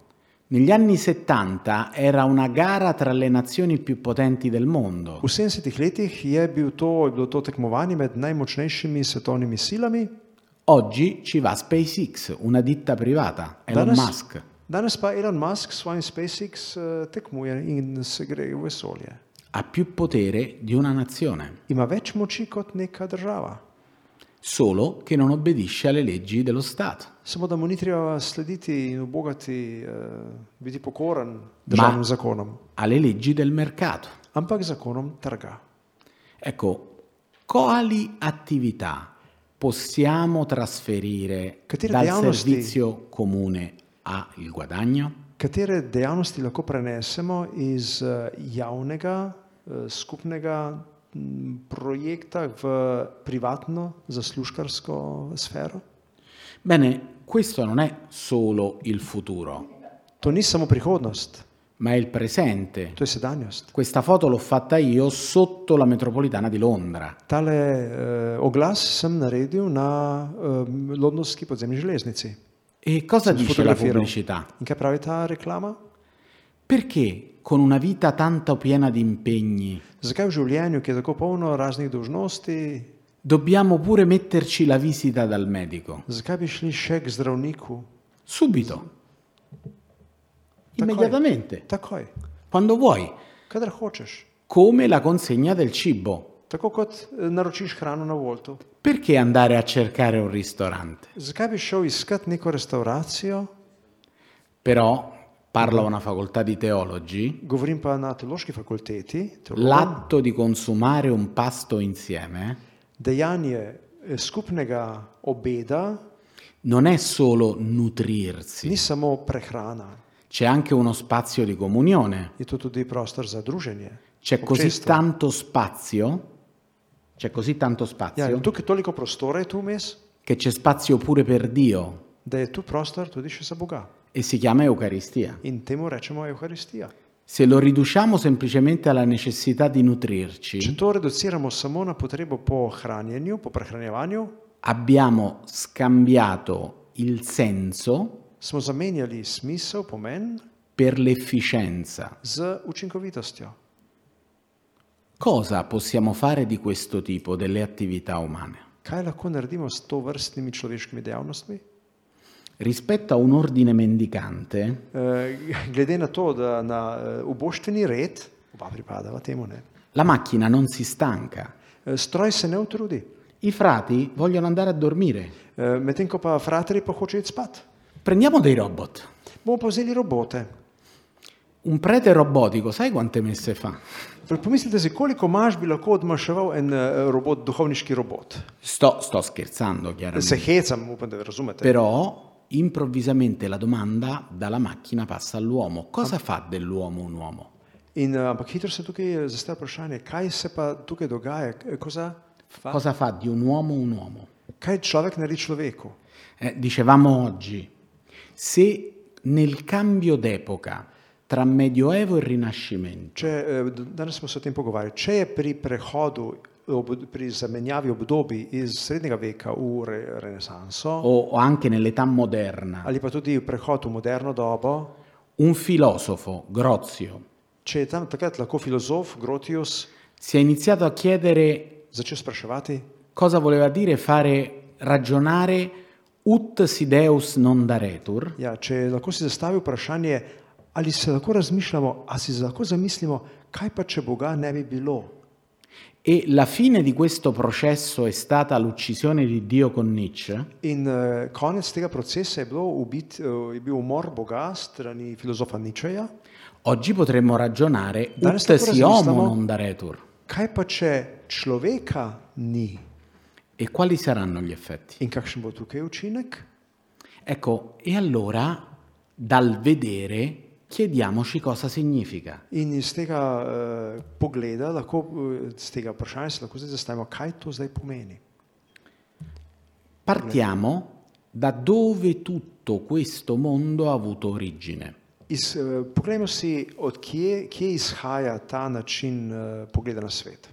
Speaker 3: Negli anni 70 era una gara tra le nazioni più potenti del mondo.
Speaker 4: V 70-ih letih je, bil to, je bilo to tekmovanje med najmočnejšimi svetovnimi silami.
Speaker 3: Oggi ci va SpaceX, una ditta privata, Elon Musk.
Speaker 4: danes pa Elon Musk s svojim SpaceX eh, tekmuje in se gre v vesolje.
Speaker 3: Ha più potere di una nazione,
Speaker 4: Ima več moči kot neka država,
Speaker 3: solo che non obbedisce alle leggi dello Stato.
Speaker 4: samo da mu ni treba slediti in obogati, eh, biti pokoren državnim
Speaker 3: Ma-
Speaker 4: zakonom,
Speaker 3: alle leggi del mercato.
Speaker 4: ampak zakonom trga.
Speaker 3: Ecco, quali attività possiamo trasferire
Speaker 4: Cattiva
Speaker 3: dal
Speaker 4: diagnosi.
Speaker 3: servizio comune al guadagno?
Speaker 4: Katere dejavnosti lahko prenesemo iz eh, javnega, eh, skupnega m, projekta v privatno, zaslužkarsko sfero?
Speaker 3: Bene, questo non è solo il futuro,
Speaker 4: To ni samo prihodnost,
Speaker 3: ma è il presente.
Speaker 4: to je sedanjost.
Speaker 3: Questa foto l'ho fatta io sotto la metropolitana di Londra.
Speaker 4: Tale eh, oglas sem naredil na eh, londonski podzemni železnici.
Speaker 3: E cosa
Speaker 4: Sem
Speaker 3: dice la
Speaker 4: fotografiral.
Speaker 3: pubblicità?
Speaker 4: In kaj pravi ta reklama?
Speaker 3: Perché con una vita tanto piena di impegni
Speaker 4: Zakaj v življenju, ki je tako polno raznih dolžnosti,
Speaker 3: dobbiamo pure metterci la visita dal medico?
Speaker 4: zakaj bi šli še k zdravniku?
Speaker 3: Subito,
Speaker 4: Takoj.
Speaker 3: immediatamente,
Speaker 4: Takoj,
Speaker 3: quando vuoi,
Speaker 4: kadar hočeš.
Speaker 3: come la consegna del cibo.
Speaker 4: Tako kot eh, naročiš hrano na Voltu.
Speaker 3: Perché andare a cercare un ristorante?
Speaker 4: Zakaj bi šel iskat neko restauracijo?
Speaker 3: Però, parla una facoltà di teologi,
Speaker 4: Govorim pa na teološki fakulteti, teologom.
Speaker 3: l'atto di consumare un pasto insieme
Speaker 4: dejanje eh, skupnega obeda
Speaker 3: non è solo nutrirsi,
Speaker 4: ni samo prehrana,
Speaker 3: c'è anche uno spazio di comunione,
Speaker 4: je to tudi prostor za druženje.
Speaker 3: c'è così
Speaker 4: občestvo.
Speaker 3: tanto spazio, c'è così tanto
Speaker 4: Ja,
Speaker 3: spazio
Speaker 4: in tukaj toliko prostora je tu vmes,
Speaker 3: che c'è spazio pure per Dio
Speaker 4: da je tu prostor tudi še za Boga.
Speaker 3: e si chiama Eucaristia.
Speaker 4: In temu rečemo Euharistija.
Speaker 3: Se lo riduciamo semplicemente alla necessità di
Speaker 4: Če
Speaker 3: nutrirci,
Speaker 4: to reduciramo samo na potrebo po hranjenju, po prehranjevanju,
Speaker 3: abbiamo scambiato il senso
Speaker 4: smo zamenjali smisel, pomen
Speaker 3: per l'efficienza.
Speaker 4: z učinkovitostjo.
Speaker 3: Cosa possiamo fare di questo tipo, delle attività umane?
Speaker 4: Kaj lahko naredimo s to vrstnimi človeškimi dejavnostmi?
Speaker 3: Rispetto a un ordine mendicante,
Speaker 4: Eh, Glede na to, da na eh, uboštveni red, oba pripadava temu, ne,
Speaker 3: la macchina non si stanca.
Speaker 4: eh, stroj se ne utrudi.
Speaker 3: I frati vogliono andare a dormire.
Speaker 4: Eh, Medtem ko pa frateri pa hoče iti spat.
Speaker 3: Prendiamo dei robot.
Speaker 4: Bomo pa vzeli robote.
Speaker 3: Un prete robotico, sai quante messe fa?
Speaker 4: Torej, Pomislite si, koliko maš bi lahko odmaševal en eh, robot, duhovniški robot.
Speaker 3: Sto, sto scherzando,
Speaker 4: Se
Speaker 3: chiaramente.
Speaker 4: hecam, upam, da razumete.
Speaker 3: Però improvvisamente la domanda dalla macchina passa all'uomo. Cosa fa dell'uomo un uomo?
Speaker 4: In, eh, ampak hitro se tukaj zastavi vprašanje, kaj se pa tukaj dogaja, K- eh, koza, fa,
Speaker 3: Cosa fa di un uomo un uomo?
Speaker 4: kaj človek naredi človeku.
Speaker 3: Eh, dicevamo oggi, se nel cambio d'epoca tra Medioevo e Rinascimento
Speaker 4: Če, eh, d- danes smo se o tem pogovarjali. Če je pri prehodu, ob, pri zamenjavi obdobij iz srednjega veka v re, renesanso
Speaker 3: o, o anche nell'età moderna,
Speaker 4: ali pa tudi prehod v moderno dobo,
Speaker 3: un filosofo, Grozio,
Speaker 4: če je tam takrat lahko filozof Grotius
Speaker 3: si è iniziato a chiedere
Speaker 4: začel spraševati,
Speaker 3: cosa voleva dire fare ragionare ut si deus non daretur,
Speaker 4: Ja, če lahko si zastavi vprašanje, ali se lahko razmišljamo, ali si lahko zamislimo, kaj pa če Boga ne bi bilo.
Speaker 3: e la fine di questo processo è stata l'uccisione di Dio con Nietzsche,
Speaker 4: In uh, konec tega procesa je, bilo ubit, uh, je bil umor Boga s strani filozofa Ničeja.
Speaker 3: oggi potremmo ragionare
Speaker 4: Dare
Speaker 3: ut
Speaker 4: stupore
Speaker 3: si homo
Speaker 4: esistono?
Speaker 3: non daretur.
Speaker 4: Kaj pa če človeka ni
Speaker 3: E quali saranno gli effetti?
Speaker 4: in kakšen bo tukaj učinek?
Speaker 3: Ecco, e allora dal vedere chiediamoci cosa significa.
Speaker 4: In iz tega uh, pogleda, lahko, uh, z tega vprašanja, se lahko zdaj zastavimo, kaj to zdaj pomeni.
Speaker 3: Partiamo da dove tutto questo mondo ha avuto origine.
Speaker 4: Iz, uh, poglejmo si, odkje kje izhaja ta način uh, pogleda na svet.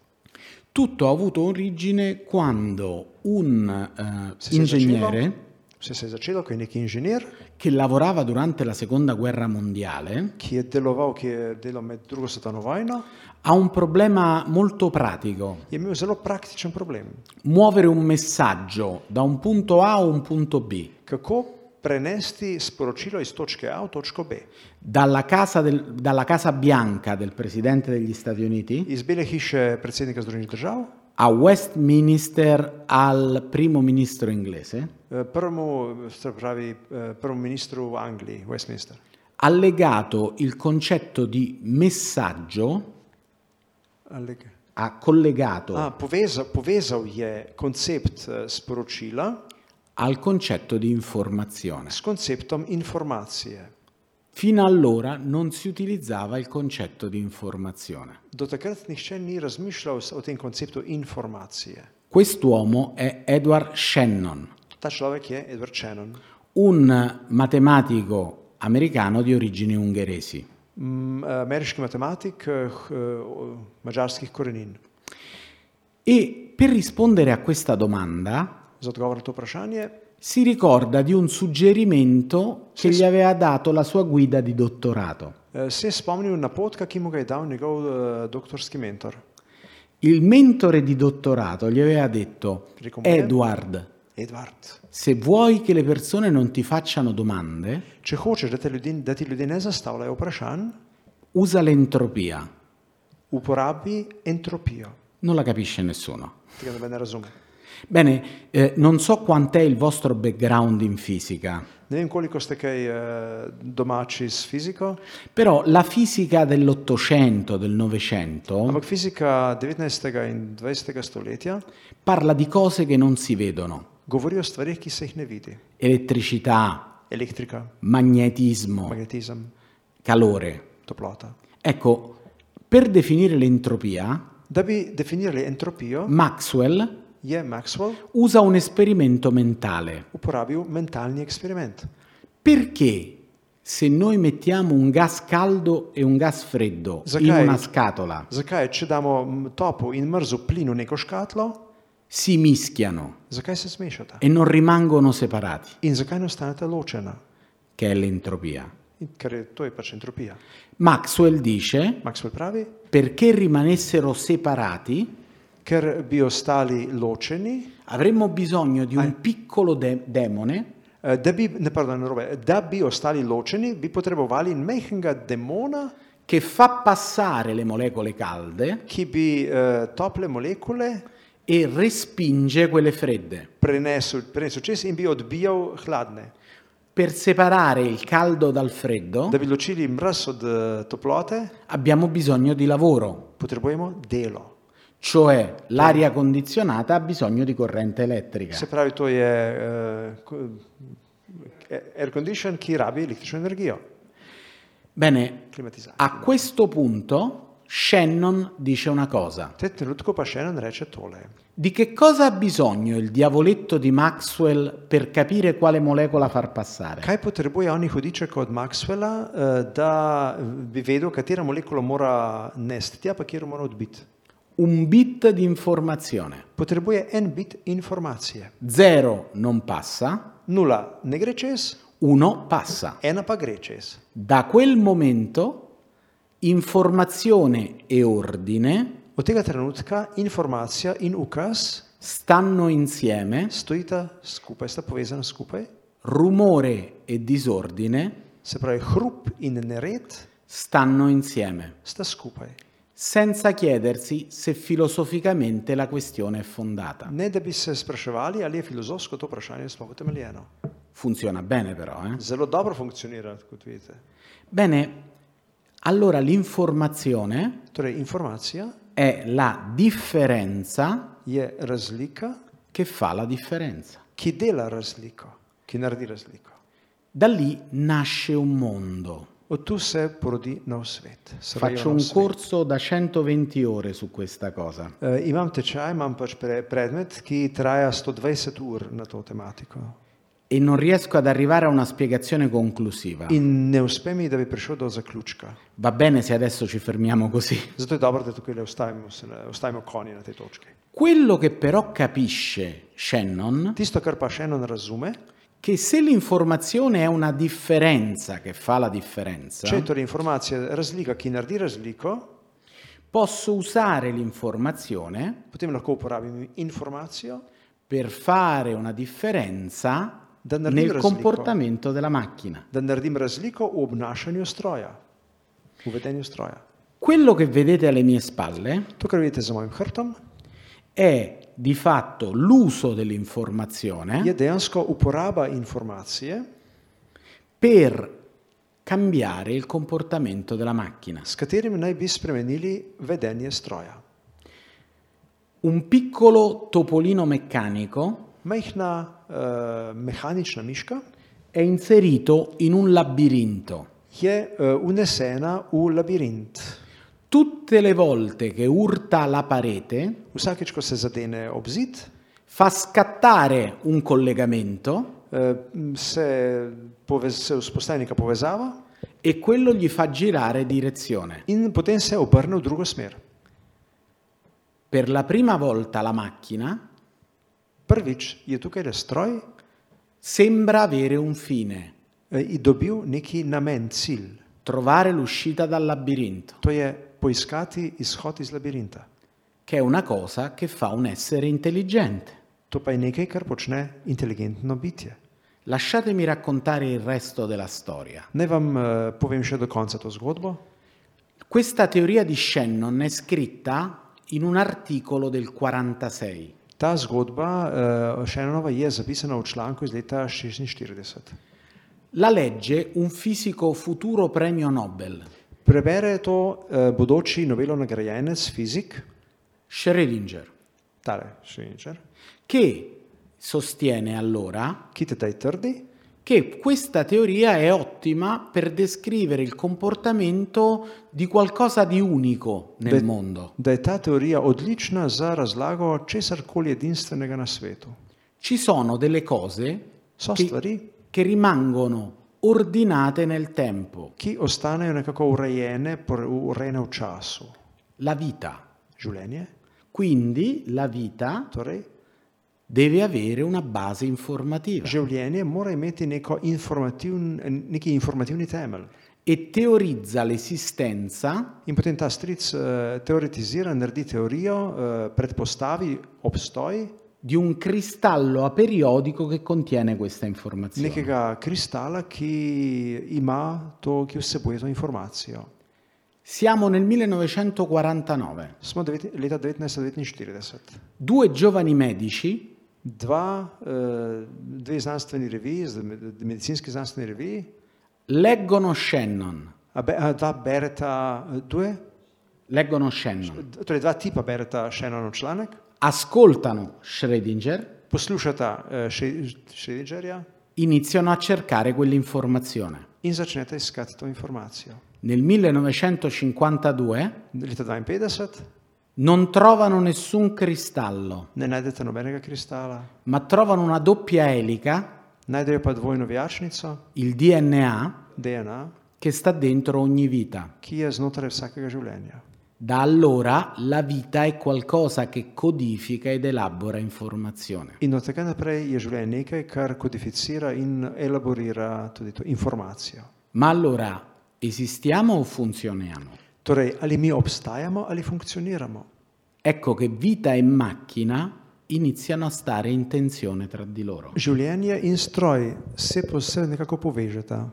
Speaker 3: Tutto ha avuto origine quando un eh,
Speaker 4: Se se je začelo-
Speaker 3: ingegnere
Speaker 4: Vse se je začelo, ko je neki inženir,
Speaker 3: che lavorava durante la seconda guerra mondiale
Speaker 4: ki je deloval, ki je delal med drugo svetovno vojno,
Speaker 3: ha un problema molto pratico,
Speaker 4: je imel zelo praktičen problem.
Speaker 3: muovere un messaggio da un punto A a un punto B,
Speaker 4: Kako prenesti sporočilo iz točke A v točko B,
Speaker 3: dalla casa, del- dalla casa bianca del presidente degli Stati Uniti
Speaker 4: iz Bele hiše predsednika Združenih držav eh,
Speaker 3: a Westminster al primo ministro inglese,
Speaker 4: eh, prvemu, se pravi, eh, prvemu ministru v Angliji, Westminster.
Speaker 3: ha legato il concetto di messaggio,
Speaker 4: Ali kaj?
Speaker 3: ha collegato
Speaker 4: A, poveza, povezal je koncept eh, sporočila
Speaker 3: al concetto di informazione.
Speaker 4: s konceptom informacije.
Speaker 3: Fino allora non si utilizzava il concetto di informazione.
Speaker 4: Do takrat nihče ni razmišljal s- o tem konceptu informacije.
Speaker 3: Quest'uomo è Edward Shannon,
Speaker 4: Ta človek je Edward Shannon,
Speaker 3: un matematico americano di origini ungheresi.
Speaker 4: m, Mm, eh, ameriški matematik eh, h- eh, mađarskih korenin.
Speaker 3: E per rispondere a questa domanda
Speaker 4: Za odgovor na to vprašanje
Speaker 3: si ricorda di un suggerimento che gli aveva dato la sua guida di dottorato.
Speaker 4: eh, eh, se je spomnil napotka, ki mu ga je dal njegov eh, doktorski mentor.
Speaker 3: Il mentore di dottorato gli aveva detto,
Speaker 4: Ricomprendo.
Speaker 3: Edward,
Speaker 4: Edvard,
Speaker 3: se vuoi che le persone non ti facciano domande,
Speaker 4: če hočeš, da te ljudje, da ti ljudje ne zastavljajo vprašanj,
Speaker 3: usa l'entropia.
Speaker 4: uporabi entropijo.
Speaker 3: Non la capisce nessuno.
Speaker 4: Tega noben ne razume.
Speaker 3: Bene, eh, non so quant'è il vostro background in fisica,
Speaker 4: Ne vem, koliko ste kaj eh, domači s fiziko,
Speaker 3: però la fisica dell'Ottocento, del Novecento,
Speaker 4: ampak fizika 19. in 20. stoletja
Speaker 3: parla di cose che non si vedono.
Speaker 4: govori o stvarih, ki se jih ne vidi.
Speaker 3: Elettricità,
Speaker 4: Elektrika,
Speaker 3: magnetismo,
Speaker 4: magnetizem,
Speaker 3: calore.
Speaker 4: toplota.
Speaker 3: Ecco, per definire l'entropia,
Speaker 4: Da bi definirali entropijo,
Speaker 3: Maxwell
Speaker 4: je Maxwell
Speaker 3: usa un esperimento mentale.
Speaker 4: uporabil mentalni eksperiment.
Speaker 3: Perché se noi mettiamo un gas caldo e un gas freddo in
Speaker 4: Zakaj?
Speaker 3: una scatola,
Speaker 4: Zakaj, če damo m, topu in mrzlu plin v neko škatlo,
Speaker 3: si mischiano
Speaker 4: zakaj se smešata?
Speaker 3: e non rimangono separati,
Speaker 4: In zakaj ne ostaneta ločena?
Speaker 3: che è l'entropia?
Speaker 4: In, ker je, to je pač entropija.
Speaker 3: Maxwell dice,
Speaker 4: Maxwell pravi,
Speaker 3: perché rimanessero separati,
Speaker 4: ker bi ostali ločeni,
Speaker 3: avremmo bisogno di un piccolo de- demone
Speaker 4: eh, da bi, ne, pardon, narobe, da bi ostali ločeni, bi potrebovali mehkega demona,
Speaker 3: che fa passare le molecole calde
Speaker 4: ki bi eh, tople molekule
Speaker 3: e respinge quelle fredde.
Speaker 4: prenesel, prenesel čez in bi odbijal hladne.
Speaker 3: Per separare il caldo dal freddo
Speaker 4: Da bi ločili mraz od eh, toplote,
Speaker 3: abbiamo bisogno di lavoro,
Speaker 4: potrebujemo delo.
Speaker 3: cioè l'aria condizionata ha bisogno di corrente elettrica.
Speaker 4: Se pravi, to je eh, ko- eh, air condition, ki rabi električno energijo,
Speaker 3: Bene,
Speaker 4: klimatizacijo.
Speaker 3: a questo punto Shannon dice una cosa.
Speaker 4: V tem trenutku pa še en reče tole.
Speaker 3: Di che cosa ha bisogno il diavoletto di Maxwell per capire quale molecola far passare?
Speaker 4: Kaj potrebuje oni hudiček od Maxwella, eh, da bi vedel, katero molekulo mora nesti tja, pa kjer mora odbiti?
Speaker 3: Un bit di informazione.
Speaker 4: Potrebuje en bit informacije.
Speaker 3: 0 non passa,
Speaker 4: Nula ne gre čez,
Speaker 3: 1 passa.
Speaker 4: ena pa gre čez.
Speaker 3: Da quel momento informazione e ordine
Speaker 4: Od tega trenutka informacija in ukaz
Speaker 3: stanno insieme,
Speaker 4: stojita skupaj, sta povezana skupaj,
Speaker 3: rumore e disordine
Speaker 4: se pravi hrup in nered
Speaker 3: stanno insieme,
Speaker 4: sta skupaj.
Speaker 3: senza chiedersi se filosoficamente la questione è fondata.
Speaker 4: Ne da bi se spraševali, ali je filozofsko to vprašanje sploh utemeljeno.
Speaker 3: Funziona bene però, eh?
Speaker 4: Zelo dobro funkcionira, kot vidite.
Speaker 3: Bene, allora l'informazione
Speaker 4: Torej, informacija
Speaker 3: è la differenza
Speaker 4: je razlika,
Speaker 3: che fa la differenza.
Speaker 4: ki dela razliko, ki naredi razliko.
Speaker 3: Da lì nasce un mondo.
Speaker 4: Od tu se porodi nov svet. se rojeva
Speaker 3: Faccio
Speaker 4: nov
Speaker 3: un
Speaker 4: svet.
Speaker 3: corso da 120 ore su questa cosa.
Speaker 4: Eh, imam tečaj, imam pač pre, predmet, ki traja 120 ur na to tematiko.
Speaker 3: E non riesco ad arrivare a una spiegazione conclusiva.
Speaker 4: In ne uspe mi, da bi prišel do zaključka.
Speaker 3: Va bene se adesso ci fermiamo così.
Speaker 4: Zato je dobro, da tukaj le ostajamo, se ne- ostajamo konji na tej točki.
Speaker 3: Quello che però capisce Shannon,
Speaker 4: Tisto, kar pa še eno ne razume,
Speaker 3: che se l'informazione è una differenza che fa la differenza,
Speaker 4: če je torej informacija razlika, ki naredi razliko,
Speaker 3: posso usare l'informazione
Speaker 4: potem lahko uporabim informacijo,
Speaker 3: per fare una differenza
Speaker 4: Da ne
Speaker 3: nel
Speaker 4: rivasi,
Speaker 3: comportamento della macchina.
Speaker 4: da naredim razliko v obnašanju stroja, v vedenju stroja.
Speaker 3: Quello che vedete alle mie spalle
Speaker 4: To, kar vidite za mojim hrbtom,
Speaker 3: è di fatto l'uso
Speaker 4: je
Speaker 3: dell'informazione
Speaker 4: dejansko uporaba informacije,
Speaker 3: per cambiare il comportamento della macchina.
Speaker 4: s katerim naj bi spremenili vedenje stroja.
Speaker 3: Un piccolo topolino meccanico
Speaker 4: Majhna eh, mehanična miška
Speaker 3: è inserito in un labirinto.
Speaker 4: je eh, unesena v labirint.
Speaker 3: Tutte le volte che urta la parete
Speaker 4: Vsakeč, ko se zadene ob zid,
Speaker 3: fa scattare un collegamento
Speaker 4: eh, se, povez, se vzpostavi neka povezava
Speaker 3: e quello gli fa girare direzione.
Speaker 4: in potem se obrne v drugo smer.
Speaker 3: Per la prima volta la macchina
Speaker 4: Prvič je tukaj le stroj
Speaker 3: sembra avere un fine,
Speaker 4: E, eh, in dobil neki namen, cilj.
Speaker 3: trovare l'uscita dal labirinto,
Speaker 4: To je poiskati izhod iz labirinta.
Speaker 3: che è una cosa che fa un essere intelligente.
Speaker 4: To pa je nekaj, kar počne inteligentno bitje.
Speaker 3: Lasciatemi raccontare il resto della storia.
Speaker 4: Naj vam eh, povem še do konca to zgodbo.
Speaker 3: Questa teoria di Shannon è scritta in un articolo del 46.
Speaker 4: Ta zgodba, eh, še ena nova, je zapisana v članku iz leta 1946.
Speaker 3: La legge un fisico futuro premio Nobel,
Speaker 4: Prebere to eh, bodoči Nobelov nagrajenec, fizik,
Speaker 3: Schrödinger,
Speaker 4: tale Schrödinger,
Speaker 3: che sostiene allora
Speaker 4: ki te taj trdi,
Speaker 3: che questa teoria è ottima per descrivere il comportamento di qualcosa di unico nel
Speaker 4: da,
Speaker 3: mondo.
Speaker 4: da je ta teorija odlična za razlago česar koli edinstvenega na svetu.
Speaker 3: Ci sono delle cose
Speaker 4: So
Speaker 3: che,
Speaker 4: stvari.
Speaker 3: che rimangono ordinate nel tempo,
Speaker 4: ki ostanejo nekako urejene, por- urejene v času.
Speaker 3: la vita.
Speaker 4: Življenje,
Speaker 3: Quindi la vita
Speaker 4: torej,
Speaker 3: deve avere una base informativa
Speaker 4: življenje mora imeti neko informativn, neki informativni temelj.
Speaker 3: e teorizza l'esistenza
Speaker 4: In potem ta stric eh, teoretizira, naredi teorijo, eh, predpostavi obstoj
Speaker 3: di un cristallo aperiodico che contiene questa informazione.
Speaker 4: nekega kristala, ki ima to, ki vsebuje to informacijo.
Speaker 3: Siamo nel 1949.
Speaker 4: Smo devet, leta 1949.
Speaker 3: Due giovani medici
Speaker 4: Dva, eh, dve znanstveni reviji, z- medicinski znanstveni reviji,
Speaker 3: leggono Shannon.
Speaker 4: a be, a dva bereta, eh, due,
Speaker 3: Leggono Shannon.
Speaker 4: Torej, dva tipa bereta še eno članek,
Speaker 3: Ascoltano Schrödinger,
Speaker 4: poslušata eh, Schrö- Schrödingerja
Speaker 3: iniziano a cercare quell'informazione.
Speaker 4: in začnete iskati to informacijo.
Speaker 3: Nel 1952
Speaker 4: Leta 52
Speaker 3: non trovano nessun cristallo,
Speaker 4: ne najdete nobenega kristala,
Speaker 3: ma trovano una doppia elica,
Speaker 4: najdejo pa dvojno vijačnico,
Speaker 3: il DNA,
Speaker 4: DNA,
Speaker 3: che sta dentro ogni vita.
Speaker 4: ki je znotraj vsakega življenja.
Speaker 3: Da allora la vita è qualcosa che codifica ed elabora informazione.
Speaker 4: In od tega naprej je življenje nekaj, kar kodificira in elaborira tudi to informacijo.
Speaker 3: Ma allora esistiamo o funzioniamo?
Speaker 4: Torej, ali mi obstajamo ali funkcioniramo.
Speaker 3: Ecco che vita e macchina iniziano a stare in tensione tra di loro.
Speaker 4: Življenje in stroj se posebej nekako povežeta.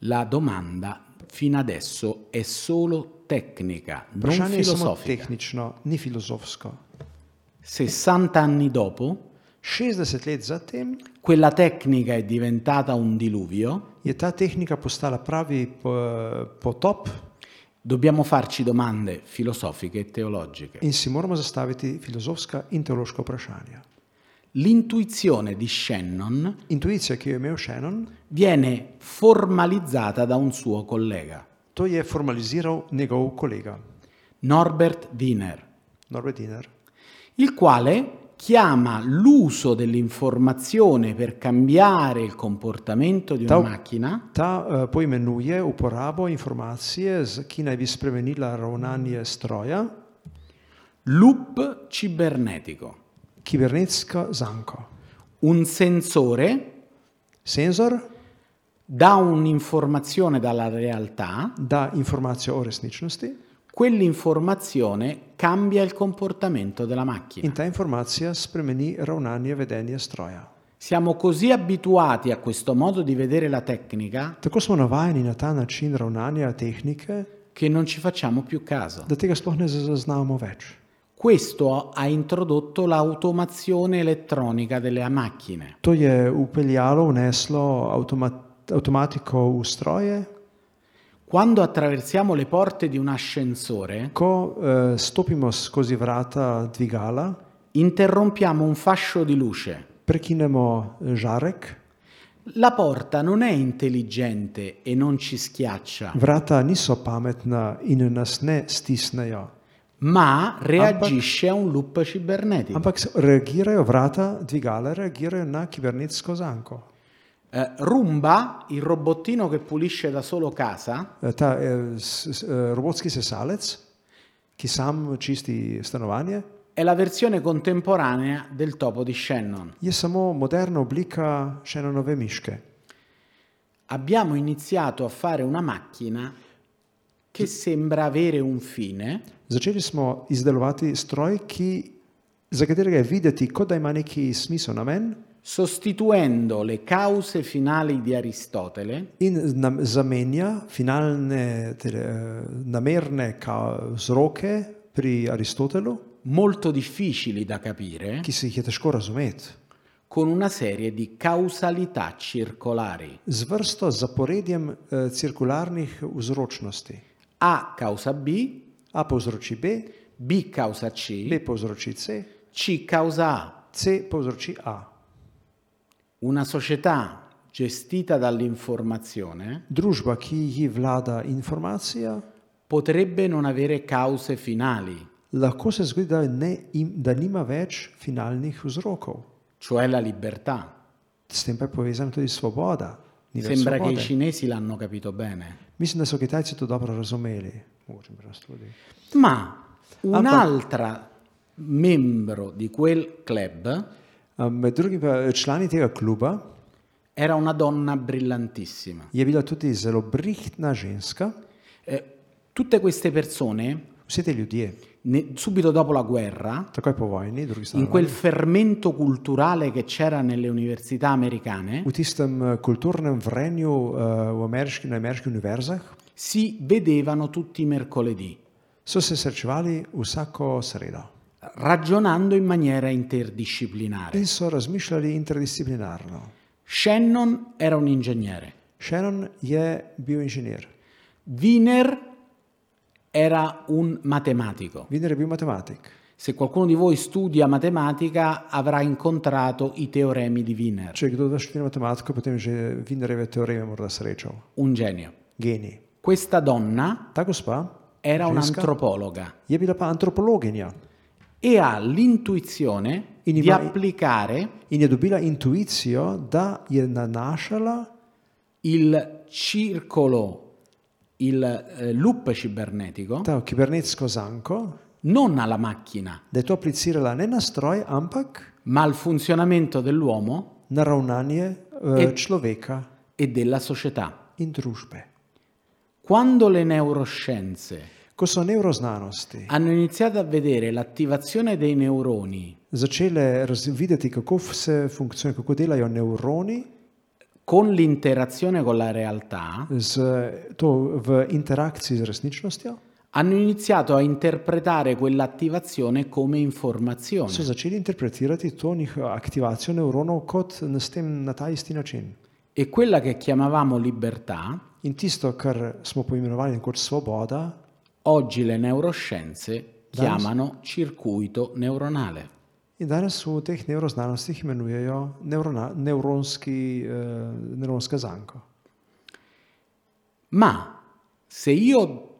Speaker 3: La domanda fino adesso è solo tecnica, non
Speaker 4: Vprašanje je samo
Speaker 3: filosofica.
Speaker 4: tehnično, ni filozofsko.
Speaker 3: 60 anni dopo,
Speaker 4: 60 let zatem
Speaker 3: quella tecnica è diventata un diluvio,
Speaker 4: je ta tehnika postala pravi po- potop
Speaker 3: dobbiamo farci domande filosofiche e teologiche.
Speaker 4: in si moramo zastaviti filozofska in teološka vprašanja.
Speaker 3: L'intuizione di Shannon
Speaker 4: Intuicija, ki jo je imel Shannon,
Speaker 3: viene formalizzata da un suo collega,
Speaker 4: to je formaliziral njegov kolega
Speaker 3: Norbert Wiener,
Speaker 4: Norbert Diner,
Speaker 3: il quale chiama l'uso dell'informazione per cambiare il comportamento di una
Speaker 4: Tau-
Speaker 3: macchina
Speaker 4: Ta eh, poimenuje uporabo informacije, z- ki naj bi spremenila ravnanje stroja,
Speaker 3: loop cibernetico,
Speaker 4: kibernetsko zanko.
Speaker 3: un sensore
Speaker 4: Senzor
Speaker 3: dà un'informazione dalla realtà,
Speaker 4: da informacijo o resničnosti
Speaker 3: quell'informazione cambia il comportamento della macchina.
Speaker 4: in ta informacija spremeni ravnanje vedenja stroja.
Speaker 3: Siamo così abituati a questo modo di vedere la tecnica
Speaker 4: Tako smo navajeni na ta način ravnanja tehnike,
Speaker 3: che non ci facciamo più caso.
Speaker 4: da tega sploh ne zaznamo več.
Speaker 3: Questo ha introdotto l'automazione elettronica delle macchine.
Speaker 4: To je upeljalo, vneslo avtomat, avtomatiko v stroje.
Speaker 3: Quando attraversiamo le porte di un ascensore,
Speaker 4: Ko eh, stopimo skozi vrata dvigala,
Speaker 3: interrompiamo un fascio di luce.
Speaker 4: prekinemo žarek,
Speaker 3: La porta non è intelligente e non ci schiaccia,
Speaker 4: vrata niso pametna in nas ne stisnejo,
Speaker 3: ma reagisce a un loop cibernetico.
Speaker 4: ampak s- reagirajo vrata dvigala, reagirajo na kibernetsko zanko.
Speaker 3: Eh, Roomba, il robottino che pulisce da solo casa,
Speaker 4: Eh, Ta eh, s, s, eh, robotski sesalec, ki sam čisti stanovanje,
Speaker 3: è la versione contemporanea del topo di Shannon.
Speaker 4: je samo moderna oblika še ene nove miške.
Speaker 3: abbiamo iniziato a fare una macchina che sembra avere un fine.
Speaker 4: Začeli smo izdelovati stroj, ki, za katerega je videti, kot da ima neki smisel namen
Speaker 3: sostituendo le cause finali di Aristotele
Speaker 4: in nam zamenja finalne tele, eh, namerne ka- vzroke pri Aristotelu,
Speaker 3: molto difficili da capire
Speaker 4: ki se jih je težko razumeti,
Speaker 3: con una serie di causalità circolari.
Speaker 4: z vrsto zaporedjem eh, cirkularnih vzročnosti.
Speaker 3: A causa B,
Speaker 4: A povzroči B,
Speaker 3: B causa C,
Speaker 4: B povzroči C,
Speaker 3: C causa A.
Speaker 4: C povzroči A.
Speaker 3: Una società gestita dall'informazione
Speaker 4: Družba, ki ji vlada informacija,
Speaker 3: potrebbe non avere cause finali,
Speaker 4: lahko se zgodi, da, ne, im- da nima več finalnih vzrokov.
Speaker 3: cioè la libertà.
Speaker 4: S tem pa je povezana tudi svoboda. Ni več
Speaker 3: Sembra che i
Speaker 4: svobode.
Speaker 3: cinesi l'hanno capito bene.
Speaker 4: Mislim, da so Kitajci to dobro razumeli. Mogoče bi nas tudi.
Speaker 3: Ma un'altra membro di quel club
Speaker 4: A Ehm, Med drugim pa eh, člani tega kluba
Speaker 3: era una donna brillantissima.
Speaker 4: je bila tudi zelo brihtna ženska.
Speaker 3: Eh, tutte queste persone,
Speaker 4: Vsi ti ljudje,
Speaker 3: ne- subito dopo la guerra,
Speaker 4: takoj po vojni, drugi
Speaker 3: in
Speaker 4: strani,
Speaker 3: quel fermento culturale che c'era nelle università americane,
Speaker 4: v tistem eh, kulturnem vrenju eh, v ameriški, na ameriških univerzah,
Speaker 3: si vedevano tutti i mercoledì,
Speaker 4: so se srečevali vsako sredo
Speaker 3: ragionando in maniera interdisciplinare.
Speaker 4: in so razmišljali interdisciplinarno.
Speaker 3: Shannon era un ingegnere,
Speaker 4: Shannon je bil inženir,
Speaker 3: Wiener era un matematico.
Speaker 4: Viner je bil matematik.
Speaker 3: Se qualcuno di voi studia matematica avrà incontrato i teoremi di Wiener,
Speaker 4: Če je kdo študira matematiko, potem je že Vinerjeve teoreme morda srečal.
Speaker 3: un genio.
Speaker 4: Genij.
Speaker 3: Questa donna
Speaker 4: Ta gospa
Speaker 3: era
Speaker 4: ženska,
Speaker 3: un'antropologa
Speaker 4: je bila pa antropologinja
Speaker 3: e ha l'intuizione
Speaker 4: In
Speaker 3: di
Speaker 4: ima-
Speaker 3: applicare
Speaker 4: in je dobila intuicijo, da je nanašala
Speaker 3: il circolo, il eh, loop cibernetico,
Speaker 4: ta kibernetsko zanko,
Speaker 3: non alla macchina,
Speaker 4: da je to aplicirala ne na stroj, ampak
Speaker 3: ma al funzionamento dell'uomo
Speaker 4: na ravnanje
Speaker 3: E-
Speaker 4: e... človeka
Speaker 3: e della società.
Speaker 4: in družbe.
Speaker 3: Quando le neuroscienze
Speaker 4: Ko so nevroznanosti
Speaker 3: hanno iniziato a vedere l'attivazione dei neuroni
Speaker 4: začele raz- videti, kako se funkcionira, kako delajo nevroni
Speaker 3: con l'interazione con la realtà,
Speaker 4: z, to v interakciji z resničnostjo,
Speaker 3: hanno iniziato a interpretare quell'attivazione come informazione.
Speaker 4: so začeli interpretirati to njihovo aktivacijo nevronov kot na, s tem, na ta isti način.
Speaker 3: E quella che chiamavamo libertà,
Speaker 4: In tisto, kar smo poimenovali kot svoboda,
Speaker 3: oggi le neuroscienze chiamano circuito neuronale.
Speaker 4: in danes v teh nevroznanostih imenujejo nevrona, nevronski, eh, nevronska zanko.
Speaker 3: Ma se io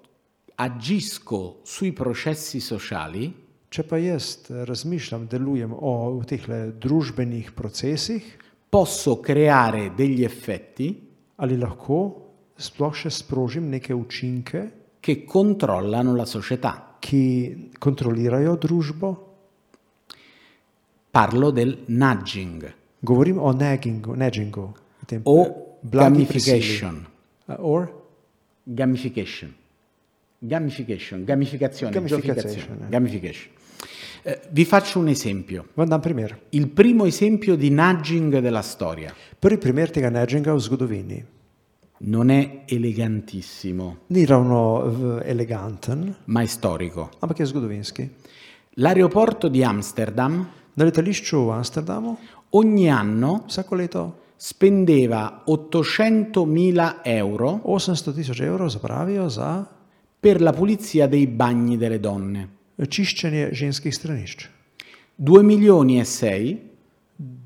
Speaker 3: agisco sui processi sociali,
Speaker 4: Če pa jaz eh, razmišljam, delujem o teh družbenih procesih,
Speaker 3: posso creare degli effetti
Speaker 4: ali lahko sploh še sprožim neke učinke,
Speaker 3: che controllano la società.
Speaker 4: ki kontrolirajo družbo.
Speaker 3: Parlo del nudging
Speaker 4: Govorim o nagingu, nagingu tem, eh,
Speaker 3: o
Speaker 4: blagi prisili.
Speaker 3: gamification.
Speaker 4: Eh, Or
Speaker 3: Gamification. Gamification, gamificazione,
Speaker 4: Gamification,
Speaker 3: giochificazione,
Speaker 4: eh.
Speaker 3: gamification. Eh, vi faccio un esempio.
Speaker 4: vam dam primer.
Speaker 3: Il primo esempio di nudging della storia.
Speaker 4: Prvi primer tega naginga v zgodovini.
Speaker 3: Non è elegantissimo,
Speaker 4: Ni ravno eh, eleganten,
Speaker 3: ma è storico.
Speaker 4: ampak je zgodovinski.
Speaker 3: L'aeroporto di Amsterdam
Speaker 4: Na letališču v Amsterdamu
Speaker 3: ogni anno
Speaker 4: vsako leto
Speaker 3: spendeva 800.000 euro
Speaker 4: 800 tisoč evrov zapravijo za
Speaker 3: per la pulizia dei bagni delle donne.
Speaker 4: čiščenje ženskih stranišč.
Speaker 3: 2 milioni e 6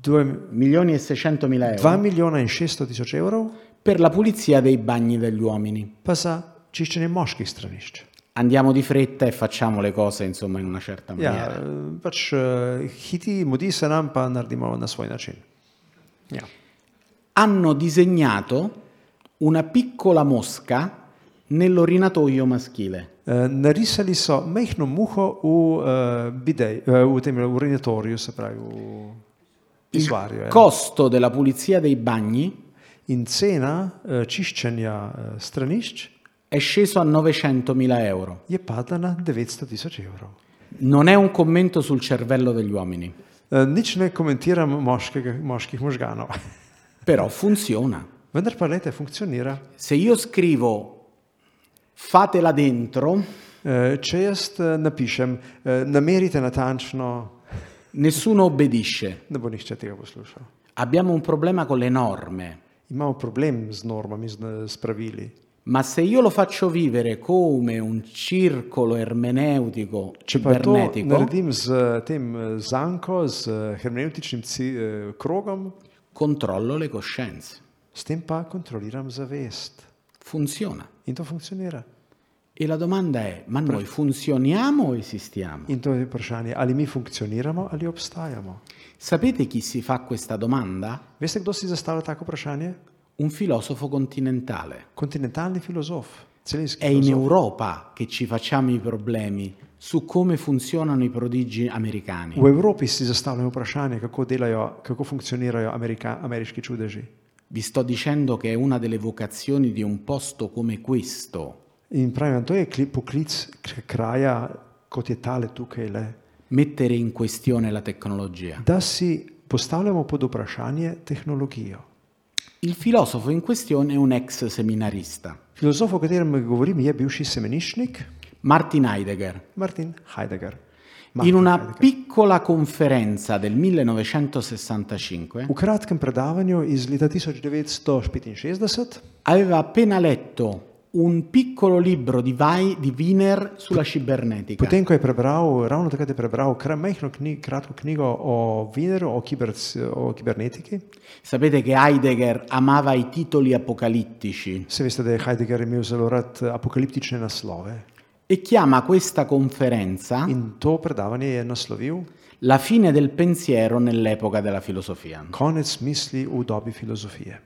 Speaker 4: 2
Speaker 3: milioni e 600 mila euro
Speaker 4: milijona in 600 tisoč evrov
Speaker 3: per la pulizia dei bagni degli uomini.
Speaker 4: pa za čiščenje moških stranišč.
Speaker 3: Andiamo di fretta e facciamo le cose insomma in una certa
Speaker 4: Ja,
Speaker 3: maniera.
Speaker 4: eh, pač eh, hiti, mudi se nam, pa naredimo na svoj način. Ja.
Speaker 3: Hanno disegnato una piccola mosca nell'orinatoio maschile.
Speaker 4: Eh, Narisali so mehko muho v uh, bidej, uh, v tem urinatoriju, se pravi v izvarju. ja.
Speaker 3: Costo della pulizia dei bagni
Speaker 4: in cena eh, čiščenja eh, stranišč
Speaker 3: È sceso a 900.000 euro.
Speaker 4: je padla na 900 tisoč evrov.
Speaker 3: Non è un commento sul cervello degli uomini,
Speaker 4: Eh, Nič ne komentiram moškega, moških možganov,
Speaker 3: però funziona.
Speaker 4: vendar pa lete funkcionira.
Speaker 3: Se io scrivo fatela dentro,
Speaker 4: Eh, Če jaz eh, napišem, eh, namerite natančno,
Speaker 3: nessuno obbedisce.
Speaker 4: ne bo nihče tega poslušal.
Speaker 3: Abbiamo un problema con le norme,
Speaker 4: Imamo problem z normami, z, s pravili.
Speaker 3: ma se io lo faccio vivere come un circolo ermeneutico
Speaker 4: Če pa to
Speaker 3: cibernetico,
Speaker 4: naredim z eh, tem eh, zanko, z eh, hermeneutičnim ci- eh, krogom,
Speaker 3: controllo le coscienze.
Speaker 4: s tem pa kontroliram zavest.
Speaker 3: Funziona.
Speaker 4: In to funkcionira.
Speaker 3: E la domanda è, ma noi funzioniamo o esistiamo?
Speaker 4: In to je vprašanje, ali mi funkcioniramo ali obstajamo.
Speaker 3: Sapete chi si fa questa domanda?
Speaker 4: Veste, kdo si zastavlja tako vprašanje?
Speaker 3: Un filosofo continentale.
Speaker 4: Kontinentalni filozof, celinski
Speaker 3: È in
Speaker 4: filozof.
Speaker 3: Europa che ci facciamo i problemi su come funzionano i prodigi americani.
Speaker 4: V Evropi si zastavljamo vprašanje, kako, delajo, kako funkcionirajo Amerika, ameriški čudeži.
Speaker 3: Vi sto dicendo che è una delle vocazioni di un posto come questo,
Speaker 4: In pravim, to je kli- poklic k- kraja, kot je tale tukaj le.
Speaker 3: mettere in questione la tecnologia.
Speaker 4: Da si postavljamo pod vprašanje tehnologijo.
Speaker 3: Il filosofo in questione è un ex seminarista,
Speaker 4: Filozof, o katerem govorim, je bivši semenišnik
Speaker 3: Martin Heidegger.
Speaker 4: Martin Heidegger.
Speaker 3: in
Speaker 4: Martin
Speaker 3: una
Speaker 4: Heidegger.
Speaker 3: piccola conferenza del 1965
Speaker 4: V kratkem predavanju iz leta 1965
Speaker 3: aveva appena letto un piccolo libro di, Vai, di Wiener sulla cibernetica.
Speaker 4: Potem, ko je prebral, ravno takrat je prebral kra- majhno knjigo, kratko knjigo o Wieneru, o, kiber, o kibernetiki.
Speaker 3: Sapete che Heidegger amava i titoli apocalittici
Speaker 4: Se veste, da je Heidegger imel zelo rad eh, apokaliptične naslove
Speaker 3: e chiama questa conferenza
Speaker 4: in to predavanje je naslovil
Speaker 3: La fine del pensiero nell'epoca della filosofia.
Speaker 4: Konec misli v dobi filozofije.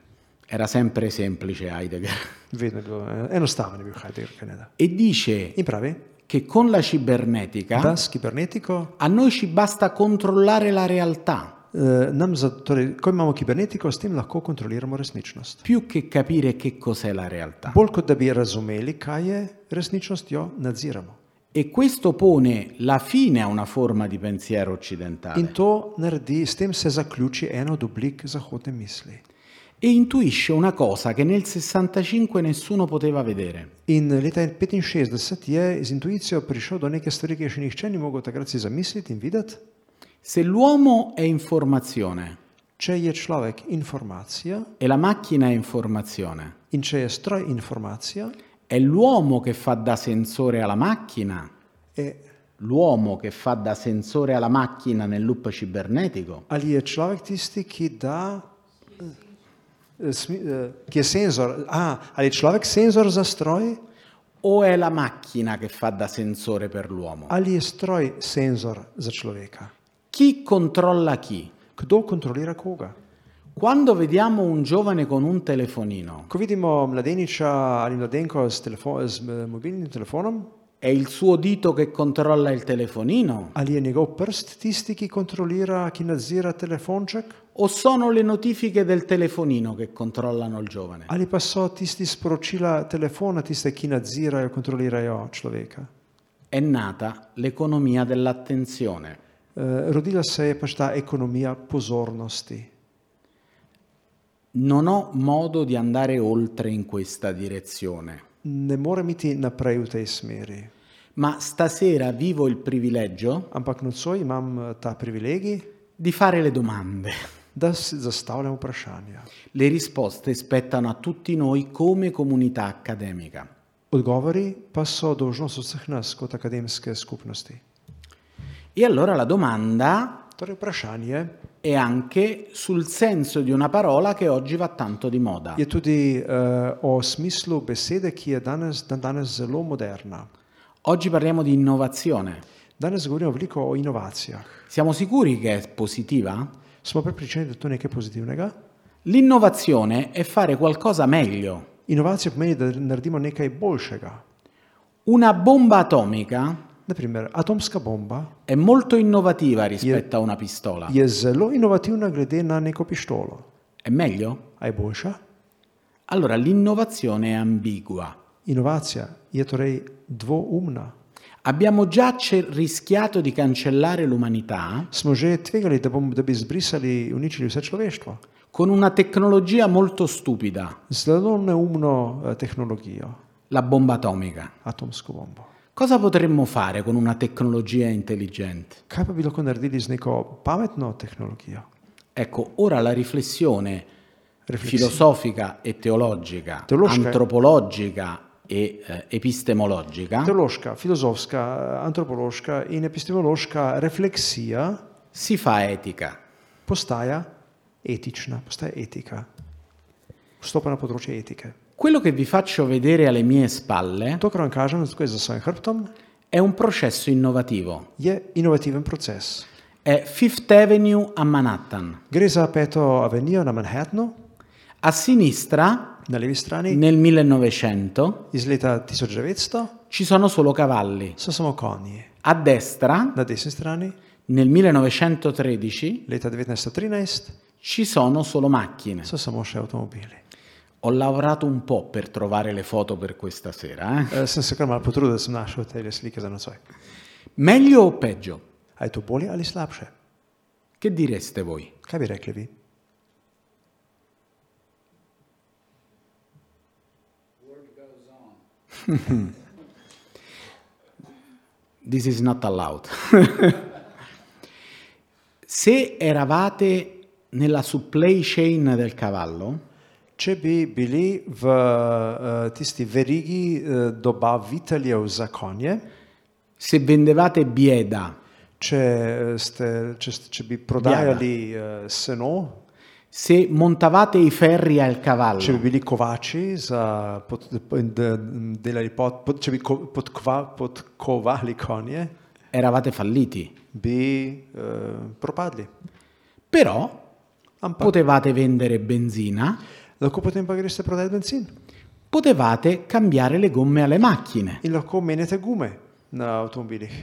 Speaker 3: Era sempre semplice Heidegger.
Speaker 4: Vedno je bilo eh, enostaven, je bil Heidegger, kaj ne da.
Speaker 3: E dice
Speaker 4: In pravi,
Speaker 3: che con la
Speaker 4: da
Speaker 3: cibernetica
Speaker 4: s kibernetiko,
Speaker 3: a noi ci basta controllare la realtà
Speaker 4: eh, nam za, torej, ko imamo kibernetiko, s tem lahko kontroliramo resničnost.
Speaker 3: più che capire che cos'è la realtà.
Speaker 4: Bolj kot da bi razumeli, kaj je resničnost, jo nadziramo.
Speaker 3: E questo pone la fine a una forma di pensiero
Speaker 4: In
Speaker 3: occidentale
Speaker 4: to naredi, s tem se zaključi ena od oblik zahodne misli.
Speaker 3: e intuisce una cosa che nel 65 nessuno poteva vedere.
Speaker 4: In leta 65 je z intuicijo prišel do neke stvari, ki je še nihče ni mogel takrat si zamisliti in videti.
Speaker 3: Se l'uomo è informazione
Speaker 4: Če je človek informacija
Speaker 3: e la macchina è informazione,
Speaker 4: in če je stroj informacija,
Speaker 3: è l'uomo che fa da sensore alla macchina,
Speaker 4: je,
Speaker 3: l'uomo che fa da sensore alla macchina nel loop cibernetico,
Speaker 4: ali je človek tisti, ki da. eh, smi- eh, Ki je senzor, a, ali je človek senzor za stroj,
Speaker 3: o è la macchina che fa da sensore per l'uomo?
Speaker 4: ali je stroj senzor za človeka?
Speaker 3: Chi controlla chi?
Speaker 4: Kdo kontrolira koga?
Speaker 3: Quando vediamo un giovane con un telefonino,
Speaker 4: Ko vidimo mladeniča ali mladenko s, telefo z eh, mobilnim telefonom,
Speaker 3: è il suo dito che controlla il telefonino
Speaker 4: ali je njegov prst tisti, ki kontrolira, ki nadzira telefonček,
Speaker 3: o sono le notifiche del telefonino che controllano il giovane?
Speaker 4: ali pa so tisti sporočila telefona tiste, ki nadzirajo, kontrolirajo človeka.
Speaker 3: È nata l'economia dell'attenzione.
Speaker 4: Eh, Rodila se je pač ta ekonomija pozornosti.
Speaker 3: Non ho modo di andare oltre in questa direzione,
Speaker 4: Ne morem iti naprej v tej smeri,
Speaker 3: ma stasera vivo il privilegio
Speaker 4: ampak nocoj imam eh, ta privilegij,
Speaker 3: di fare le domande.
Speaker 4: da si zastavljam vprašanja.
Speaker 3: Le risposte spettano a tutti noi come comunità accademica.
Speaker 4: Odgovori pa so dožnost vseh nas kot akademske skupnosti.
Speaker 3: E allora la domanda
Speaker 4: Torej, vprašanje
Speaker 3: è anche sul senso di una parola che oggi va tanto di moda.
Speaker 4: je tudi uh, o smislu besede, ki je danes, dan danes zelo moderna.
Speaker 3: Oggi parliamo di innovazione.
Speaker 4: Danes govorimo veliko o inovacijah.
Speaker 3: Siamo sicuri che è positiva?
Speaker 4: Smo prepričani, da je to nekaj pozitivnega.
Speaker 3: L'innovazione è fare qualcosa meglio.
Speaker 4: Inovacija pomeni, da naredimo nekaj boljšega.
Speaker 3: Una bomba atomica
Speaker 4: Naprimer, atomska bomba
Speaker 3: è molto innovativa rispetto a una pistola.
Speaker 4: je zelo inovativna glede na neko pištolo.
Speaker 3: È meglio?
Speaker 4: A je boljša?
Speaker 3: Allora, l'innovazione è ambigua.
Speaker 4: Inovacija je torej dvoumna.
Speaker 3: Abbiamo già ce- rischiato di cancellare l'umanità
Speaker 4: Smo že tvegali, da, bom, da bi zbrisali, uničili vse človeštvo.
Speaker 3: con una tecnologia molto stupida,
Speaker 4: Zelo neumno eh, tehnologijo,
Speaker 3: la bomba atomica.
Speaker 4: atomsko bombo.
Speaker 3: Cosa potremmo fare con una tecnologia intelligente?
Speaker 4: Kaj pa bi lahko naredili z neko pametno tehnologijo?
Speaker 3: Ecco, ora la riflessione
Speaker 4: Riflessi-
Speaker 3: filosofica e teologica,
Speaker 4: Teologica.
Speaker 3: antropologica e eh, epistemologica
Speaker 4: Teološka, filozofska, antropološka in epistemološka refleksija
Speaker 3: si fa etica.
Speaker 4: postaja etična, postaja etika. Vstopa na področje etike.
Speaker 3: Quello che vi faccio vedere alle mie spalle
Speaker 4: To, kar vam kažem, tukaj za svojim hrbtom,
Speaker 3: è un processo innovativo.
Speaker 4: je inovativen proces.
Speaker 3: È Fifth Avenue a Manhattan.
Speaker 4: Gre za peto avenijo na Manhattnu,
Speaker 3: A sinistra,
Speaker 4: na levi strani,
Speaker 3: nel 1900,
Speaker 4: iz leta 1900
Speaker 3: ci sono solo cavalli.
Speaker 4: so samo konji.
Speaker 3: A destra,
Speaker 4: Na desni strani,
Speaker 3: nel 1913,
Speaker 4: leta 1913,
Speaker 3: ci sono solo macchine.
Speaker 4: so samo še avtomobili.
Speaker 3: Ho lavorato un po' per trovare le foto per questa sera. eh.
Speaker 4: E, sem se kar malo potrudil, da sem našel te slike za nocoj.
Speaker 3: Meglio o peggio?
Speaker 4: A je to bolje ali slabše?
Speaker 3: Che direste voi?
Speaker 4: Kaj bi rekli vi?
Speaker 3: This is not allowed. Se eravate nella supply chain del cavallo,
Speaker 4: Če bi bili v eh, tisti verigi eh, dobaviteljev za konje,
Speaker 3: se vendevate bieda,
Speaker 4: če, eh, ste, če, ste- če bi prodajali eh, seno,
Speaker 3: se montavate i ferri al
Speaker 4: Če bi
Speaker 3: cavallo,
Speaker 4: bili kovači, za pod, da- delali pod, pod, če bi ko, podkva, podkovali konje,
Speaker 3: eravate falliti.
Speaker 4: bi eh, propadli.
Speaker 3: Però
Speaker 4: Ampak
Speaker 3: potevate vendere benzina,
Speaker 4: lahko potem pa greš prodajati benzin
Speaker 3: potevate cambiare le gomme alle macchine.
Speaker 4: in lahko menjate gume na avtomobilih.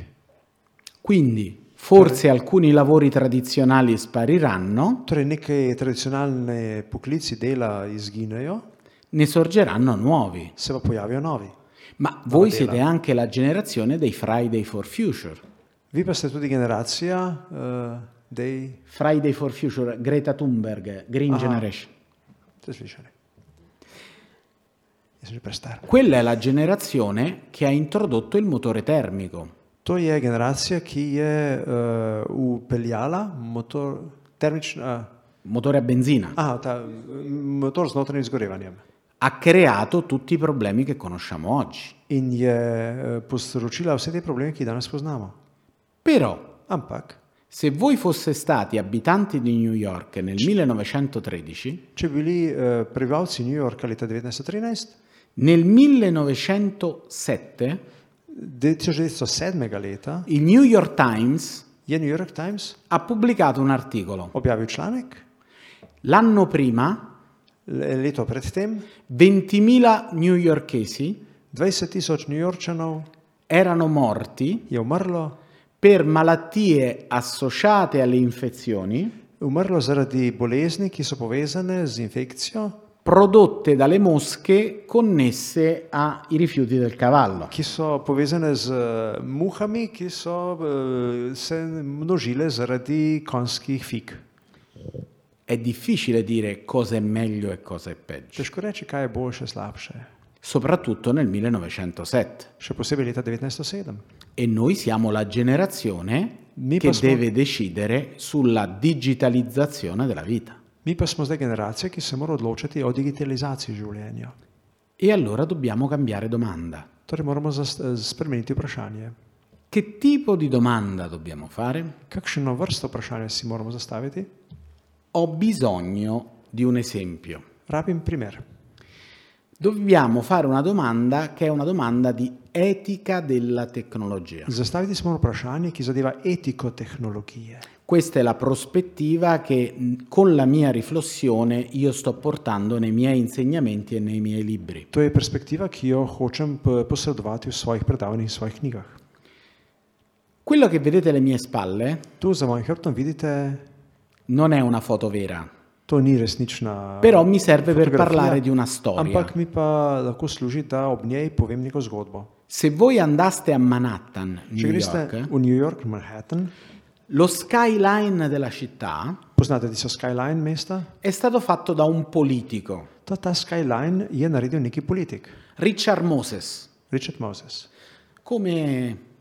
Speaker 3: Quindi forse alcuni lavori tradizionali spariranno,
Speaker 4: Torej, neke tradicionalne poklici dela izginejo,
Speaker 3: ne sorgeranno nuovi.
Speaker 4: se pa pojavijo novi.
Speaker 3: Ma voi siete anche la generazione dei Friday for Future.
Speaker 4: Vi pa ste tudi generacija, uh, dej,
Speaker 3: Friday for Future, Greta Thunberg, Green Generation.
Speaker 4: ste slišali. Jaz sem že prestar.
Speaker 3: Quella è la generazione che ha introdotto il motore termico.
Speaker 4: To je generacija, ki je uh, upeljala motor, termičn, uh,
Speaker 3: Motore a benzina.
Speaker 4: aha, ta, mm, motor z notranjim izgorevanjem
Speaker 3: Ha creato tutti i problemi che conosciamo oggi.
Speaker 4: in je eh, povzročila vse te probleme, ki jih danes poznamo.
Speaker 3: Però,
Speaker 4: Ampak,
Speaker 3: se voi fosse stati abitanti di New York nel 1913,
Speaker 4: če bi bili eh, prebivalci New Yorka leta 1913,
Speaker 3: nel 1907
Speaker 4: de- 1907. leta
Speaker 3: il New York Times
Speaker 4: je New York Times
Speaker 3: ha pubblicato un articolo.
Speaker 4: objavil članek,
Speaker 3: L'anno prima
Speaker 4: le- leto predtem
Speaker 3: 20.000 newyorkesi
Speaker 4: 20 tisoč Newyorčanov
Speaker 3: erano morti
Speaker 4: je umrlo,
Speaker 3: per malattie associate alle infezioni
Speaker 4: umrlo zaradi bolezni, ki so povezane z infekcijo.
Speaker 3: prodotte dalle mosche connesse ai rifiuti del cavallo.
Speaker 4: ki so povezane z eh, muhami, ki so eh, se množile zaradi konjskih fig.
Speaker 3: È difficile dire cosa è meglio e cosa è peggio,
Speaker 4: Težko reči, kaj je boljše, slabše.
Speaker 3: soprattutto nel 1907.
Speaker 4: Še posebej leta 1907.
Speaker 3: E noi siamo la generazione
Speaker 4: Mi
Speaker 3: che
Speaker 4: posso-
Speaker 3: deve decidere sulla digitalizzazione della vita.
Speaker 4: Mi pa smo zdaj generacija, ki se mora odločiti o digitalizaciji življenja.
Speaker 3: E allora dobbiamo cambiare domanda.
Speaker 4: Torej moramo zas- eh, spremeniti vprašanje.
Speaker 3: Che tipo di domanda dobbiamo fare?
Speaker 4: Kakšno vrsto vprašanja si moramo zastaviti?
Speaker 3: Ho bisogno di un esempio.
Speaker 4: Rabim primer.
Speaker 3: Dobbiamo fare una domanda che è una domanda di etica della tecnologia.
Speaker 4: Zastaviti smo vprašanje, ki zadeva etiko tehnologije.
Speaker 3: Questa è la prospettiva che mh, con la mia riflessione io sto portando nei miei insegnamenti e nei miei libri.
Speaker 4: To je perspektiva, ki jo hočem p- posredovati v svojih predavanjih in svojih knjigah.
Speaker 3: Quello che vedete alle mie spalle
Speaker 4: Tu za mojim hrbtom vidite,
Speaker 3: non è una foto vera,
Speaker 4: To ni resnična.
Speaker 3: Però mi serve per
Speaker 4: fotografija,
Speaker 3: parlare di una storia.
Speaker 4: Ampak mi pa lahko služi, da ob njej povem neko zgodbo.
Speaker 3: Se voi andaste a Manhattan,
Speaker 4: Če
Speaker 3: New
Speaker 4: greste
Speaker 3: York, eh?
Speaker 4: v New York, Manhattan,
Speaker 3: lo skyline della città
Speaker 4: poznate tisto skyline mesta?
Speaker 3: è stato fatto da un politico,
Speaker 4: Ta, ta skyline je naredil neki politik,
Speaker 3: Richard Moses,
Speaker 4: Richard Moses.
Speaker 3: come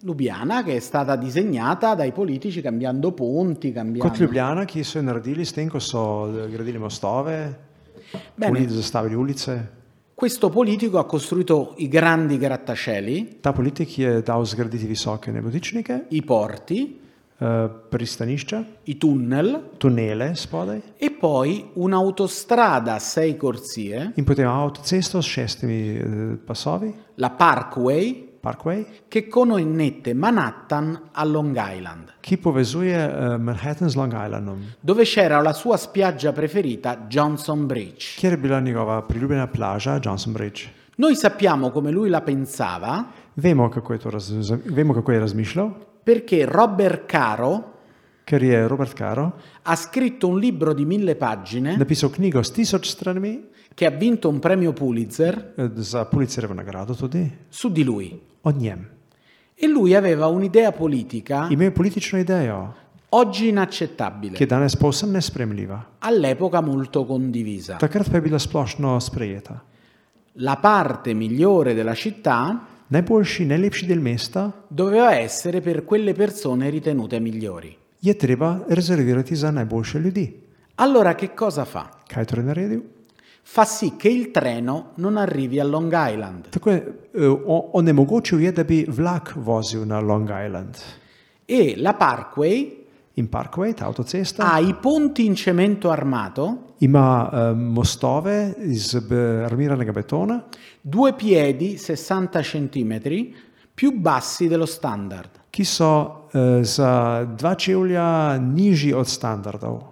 Speaker 3: Lubiana che è stata disegnata dai politici cambiando ponti,
Speaker 4: Kot
Speaker 3: cambiando...
Speaker 4: Ljubljana, ki so jo naredili s tem, ko so eh, gradili mostove,
Speaker 3: Bene.
Speaker 4: uli- zastavili ulice.
Speaker 3: Questo politico ha costruito i grandi grattacieli,
Speaker 4: Ta politik je dal zgraditi visoke nebotičnike,
Speaker 3: i porti,
Speaker 4: eh, pristanišča,
Speaker 3: i tunnel
Speaker 4: tunele spodaj
Speaker 3: e poi un'autostrada a sei corsie,
Speaker 4: in potem avtocesto s šestimi eh, pasovi,
Speaker 3: la Parkway,
Speaker 4: Parkway,
Speaker 3: che connette Manhattan a Long Island,
Speaker 4: ki povezuje eh, Manhattan z Long Islandom,
Speaker 3: dove c'era la sua spiaggia preferita, Johnson Bridge.
Speaker 4: kjer je bila njegova priljubljena plaža Johnson Bridge.
Speaker 3: Noi sappiamo come lui la pensava
Speaker 4: Vemo, kako je, to raz, vemo, kako je razmišljal,
Speaker 3: perché Robert Caro
Speaker 4: ker je Robert Caro
Speaker 3: ha scritto un libro di mille pagine
Speaker 4: napisal knjigo s tisoč stranmi
Speaker 3: che ha vinto un premio Pulitzer
Speaker 4: eh, za Pulitzerjevo nagrado tudi
Speaker 3: su di lui.
Speaker 4: o njem.
Speaker 3: E lui aveva un'idea politica
Speaker 4: Imel je politično idejo,
Speaker 3: oggi
Speaker 4: ki
Speaker 3: inaccettabile,
Speaker 4: je danes povsem nespremljiva.
Speaker 3: all'epoca molto condivisa.
Speaker 4: Takrat pa je bila splošno sprejeta.
Speaker 3: La parte migliore della città
Speaker 4: Najboljši, najlepši del mesta
Speaker 3: doveva essere per quelle persone ritenute migliori.
Speaker 4: je treba rezervirati za najboljše ljudi.
Speaker 3: Allora che cosa fa?
Speaker 4: Kaj je torej naredil?
Speaker 3: Fa sì che il treno non arrivi a Long Island
Speaker 4: Tako je eh, o- onemogočil, je, da bi vlak vozil na Long Island
Speaker 3: e la Parkway
Speaker 4: in Parkway, ta avtocesta.
Speaker 3: ha i ponti in cemento armato,
Speaker 4: Ima eh, mostove iz be- armiranega betona,
Speaker 3: due piedi 60 cm più bassi dello standard.
Speaker 4: ki so eh, za dva čevlja nižji od standardov.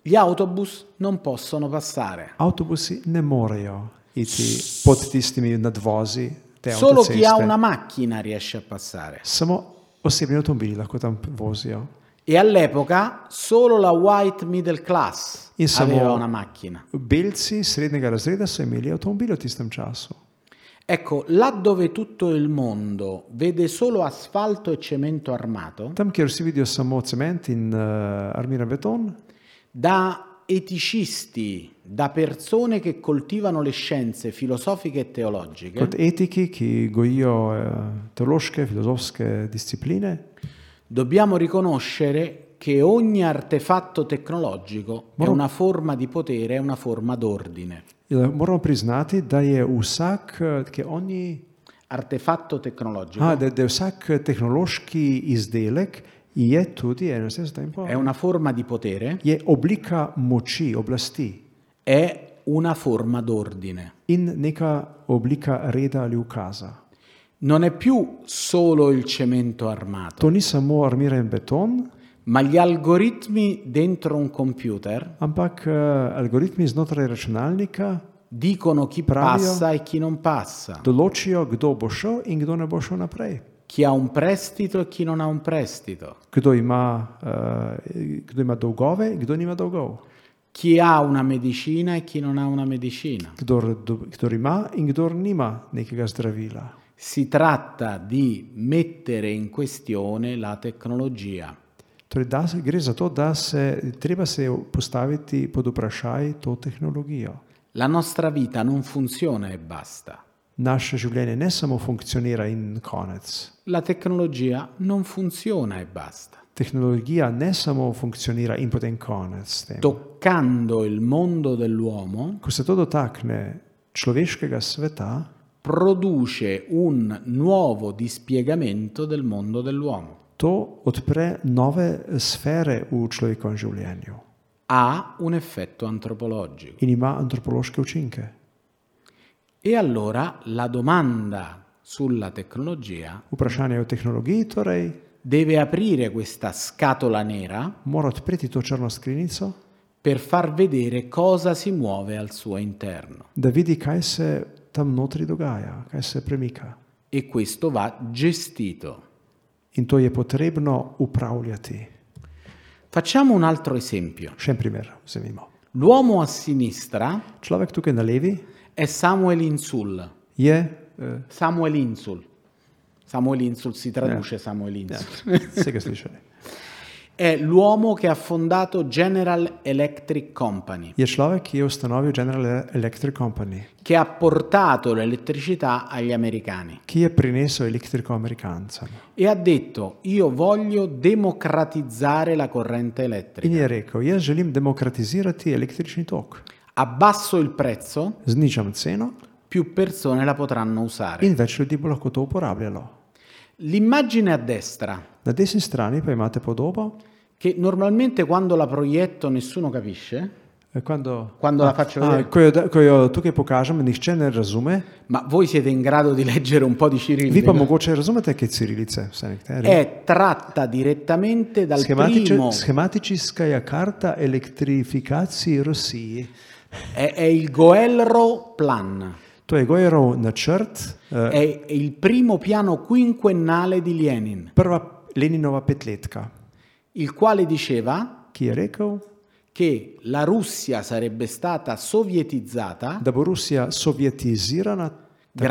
Speaker 3: Gli autobus non possono passare.
Speaker 4: Avtobusi ne morejo iti pod tistimi nadvozi te
Speaker 3: Solo chi ha
Speaker 4: avtoceste.
Speaker 3: una macchina riesce a passare.
Speaker 4: Samo osebni avtomobili lahko tam vozijo.
Speaker 3: E all'epoca solo la white middle class
Speaker 4: In samo-
Speaker 3: aveva una macchina.
Speaker 4: Belci srednjega razreda so imeli avtomobile v tistem času.
Speaker 3: Ecco, là dove tutto il mondo vede solo asfalto e cemento armato,
Speaker 4: Tam, kjer vsi vidijo samo cement in uh, armiran beton,
Speaker 3: da eticisti, da persone che coltivano le scienze filosofiche e teologiche,
Speaker 4: kot etiki, ki gojijo uh, teološke, filozofske discipline,
Speaker 3: dobbiamo riconoscere che ogni artefatto tecnologico è
Speaker 4: Moro-
Speaker 3: una forma di potere, è una forma d'ordine.
Speaker 4: Ja, Moramo priznati, da je vsak, eh, ki oni,
Speaker 3: Artefatto tecnologico
Speaker 4: a, da, da je vsak eh, tehnološki izdelek je tudi enostavno
Speaker 3: è una forma di potere,
Speaker 4: je oblika moči, oblasti
Speaker 3: è una forma d'ordine.
Speaker 4: in neka oblika reda ali ukaza.
Speaker 3: Non è più solo il cemento armato.
Speaker 4: To ni samo armiran beton,
Speaker 3: Ma gli algoritmi dentro un computer
Speaker 4: ampak eh, algoritmi znotraj računalnika
Speaker 3: dicono chi
Speaker 4: Proprio.
Speaker 3: passa e chi non passa,
Speaker 4: določijo, kdo bo šel in kdo ne bo šel naprej.
Speaker 3: chi ha un prestito e chi non ha un prestito,
Speaker 4: Kdo ima, eh, kdo ima dolgove, kdo nima dolgov.
Speaker 3: chi ha una medicina e chi non ha una medicina.
Speaker 4: Kdor, do- kdor ima in kdor nima nekega zdravila.
Speaker 3: Si tratta di mettere in questione la tecnologia.
Speaker 4: Torej, da se, gre za to, da se treba se postaviti pod vprašaj to tehnologijo.
Speaker 3: La nostra vita non funziona e basta.
Speaker 4: Naše življenje ne samo funkcionira in konec.
Speaker 3: La tecnologia non funziona e basta.
Speaker 4: Tehnologija ne samo funkcionira in potem konec. s tem.
Speaker 3: Toccando il mondo dell'uomo,
Speaker 4: Ko se to dotakne človeškega sveta,
Speaker 3: produce un nuovo dispiegamento del mondo dell'uomo.
Speaker 4: to odpre nove sfere v človekovem življenju
Speaker 3: ha un effetto antropologico.
Speaker 4: in ima antropološke učinke.
Speaker 3: E allora la domanda sulla tecnologia
Speaker 4: Vprašanje o tehnologiji torej
Speaker 3: deve aprire questa scatola nera
Speaker 4: mora odpreti to črno skrinjico,
Speaker 3: per far vedere cosa si muove al suo interno
Speaker 4: da vidi, kaj se tam notri dogaja, kaj se premika.
Speaker 3: e questo va gestito.
Speaker 4: In to je potrebno upravljati.
Speaker 3: Facciamo un altro esempio.
Speaker 4: Še en primer vzemimo.
Speaker 3: L'uomo a sinistra
Speaker 4: Človek tukaj na levi
Speaker 3: è Samuel Insul.
Speaker 4: je
Speaker 3: E,
Speaker 4: eh,
Speaker 3: Samuel Insul. Samuel Insul si traduce Samuel Insul.
Speaker 4: ja, vsega slišali.
Speaker 3: È l'uomo che ha fondato General Electric Company,
Speaker 4: Je človek, ki je ustanovil General Electric Company,
Speaker 3: che ha portato l'elettricità agli americani
Speaker 4: ki je prinesel elektriko Amerikancem.
Speaker 3: e ha detto io voglio democratizzare la corrente
Speaker 4: In
Speaker 3: elettrica.
Speaker 4: je rekel, jaz želim demokratizirati električni tok.
Speaker 3: Abbasso il prezzo,
Speaker 4: Znižam ceno
Speaker 3: più persone la potranno usare.
Speaker 4: in več ljudi bo lahko to uporabljalo.
Speaker 3: L'immagine a destra,
Speaker 4: Na desni strani pa imate podobo,
Speaker 3: che normalmente quando la proietto nessuno capisce,
Speaker 4: eh, quando,
Speaker 3: Quando la faccio
Speaker 4: a,
Speaker 3: vedere.
Speaker 4: ko, jo, da- ko jo tukaj pokažem, nihče ne razume.
Speaker 3: ma voi siete in grado di leggere un po' di
Speaker 4: Vi pa
Speaker 3: cirillica,
Speaker 4: mogoče razumete, kaj je cirilice, vse nekateri.
Speaker 3: è tratta direttamente Eh, dal primo,
Speaker 4: Schematična karta elektrifikaciji Rusiji.
Speaker 3: è, è il Goelro Plan,
Speaker 4: To je Gojerov načrt, eh,
Speaker 3: è il primo piano quinquennale di Lenin,
Speaker 4: prva Leninova petletka,
Speaker 3: il quale diceva
Speaker 4: ki je rekel,
Speaker 3: che la Russia sarebbe stata sovietizzata
Speaker 4: da bo Rusija sovjetizirana takrat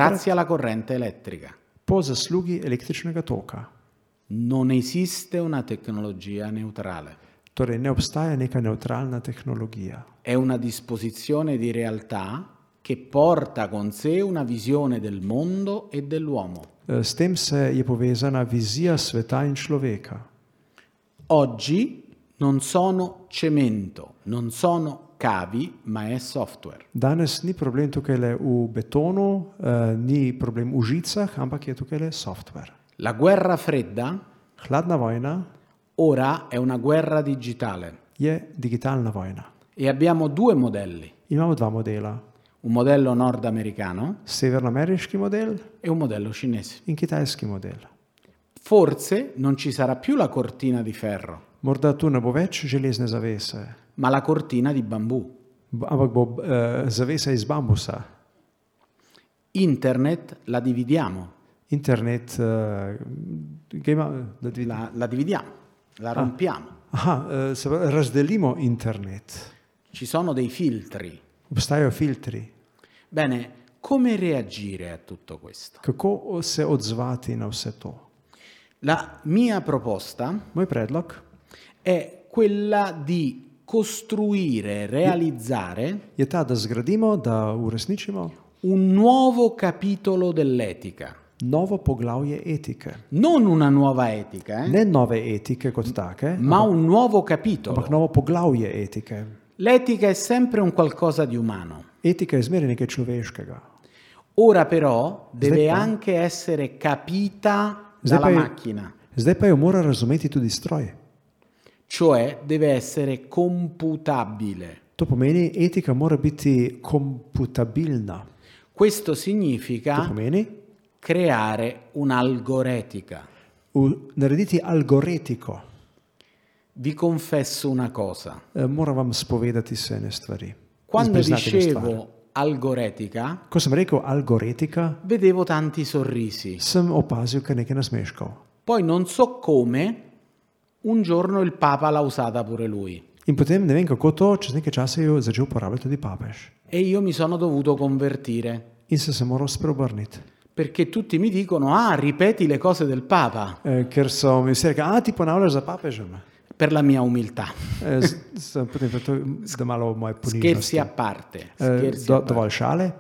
Speaker 3: grazie alla corrente elettrica.
Speaker 4: po zaslugi električnega toka.
Speaker 3: Non esiste una tecnologia neutrale,
Speaker 4: Torej, ne obstaja neka neutralna tehnologija.
Speaker 3: è una disposizione di realtà che porta con sé una visione del mondo e dell'uomo.
Speaker 4: Eh, S tem se je povezana vizija sveta in človeka.
Speaker 3: Oggi non sono cemento, non sono cavi, ma è software.
Speaker 4: Danes ni problem tukaj le v betonu, eh, ni problem v žicah, ampak je tukaj le software.
Speaker 3: La guerra fredda
Speaker 4: Hladna vojna
Speaker 3: ora è una guerra digitale
Speaker 4: je digitalna vojna.
Speaker 3: e abbiamo due modelli,
Speaker 4: Imamo dva modela,
Speaker 3: un modello nordamericano
Speaker 4: severnoameriški model
Speaker 3: e un modello cinese.
Speaker 4: in kitajski model.
Speaker 3: Forse non ci sarà più la cortina di ferro,
Speaker 4: Morda tu ne bo več železne zavese,
Speaker 3: ma la cortina di bambù.
Speaker 4: b- ampak bo eh, zavesa iz bambusa.
Speaker 3: Internet la dividiamo,
Speaker 4: Internet, eh, ga ima, da dvignem.
Speaker 3: la, la dividiamo, la rompiamo.
Speaker 4: Aha, eh, se pravi, razdelimo internet.
Speaker 3: Ci sono dei filtri.
Speaker 4: Obstajajo filtri.
Speaker 3: Bene, come reagire a tutto questo?
Speaker 4: Kako se odzvati na vse to?
Speaker 3: La mia proposta
Speaker 4: Moj predlog
Speaker 3: è quella di costruire, realizzare
Speaker 4: je ta, da zgradimo, da uresničimo
Speaker 3: un nuovo capitolo dell'etica.
Speaker 4: novo poglavje etike.
Speaker 3: Non una nuova etica, eh,
Speaker 4: Ne nove etike kot take,
Speaker 3: ma un nuovo
Speaker 4: ampak
Speaker 3: capitolo.
Speaker 4: novo poglavje etike.
Speaker 3: L'etica è sempre un qualcosa di umano.
Speaker 4: Etika je zmeraj nekaj človeškega.
Speaker 3: Ora però deve
Speaker 4: Esatto.
Speaker 3: anche essere capita
Speaker 4: Zdaj
Speaker 3: dalla
Speaker 4: pa,
Speaker 3: macchina,
Speaker 4: je, zdaj pa jo mora razumeti tudi stroj.
Speaker 3: cioè deve essere computabile.
Speaker 4: To pomeni, etika mora biti komputabilna.
Speaker 3: Questo
Speaker 4: To
Speaker 3: significa
Speaker 4: pomeni
Speaker 3: creare un'algoretica.
Speaker 4: v, narediti algoritiko.
Speaker 3: Vi confesso una cosa.
Speaker 4: Eh, Moram vam spovedati se ene stvari.
Speaker 3: Quando
Speaker 4: Priznati eno stvar.
Speaker 3: dicevo algoretica,
Speaker 4: Ko sem rekel algoritika,
Speaker 3: vedevo tanti sorrisi.
Speaker 4: sem opazil kar nekaj nasmeškov.
Speaker 3: Poi non so come, un giorno il Papa l'ha usata pure lui.
Speaker 4: In potem ne vem kako to, čez nekaj časa jo je začel uporabljati tudi papež.
Speaker 3: E io mi sono dovuto convertire,
Speaker 4: In sem se moral spreobrniti.
Speaker 3: perché tutti mi dicono, ah, ripeti le cose del Papa,
Speaker 4: Eh, ker so mi vsi rekli, a ti ponavljaš za papežem.
Speaker 3: per la mia umiltà.
Speaker 4: Eh, s- sem potem pa to, da malo moje
Speaker 3: Scherzi
Speaker 4: ponižnosti.
Speaker 3: a parte,
Speaker 4: Eh,
Speaker 3: scherzi a
Speaker 4: do,
Speaker 3: parte.
Speaker 4: dovolj šale.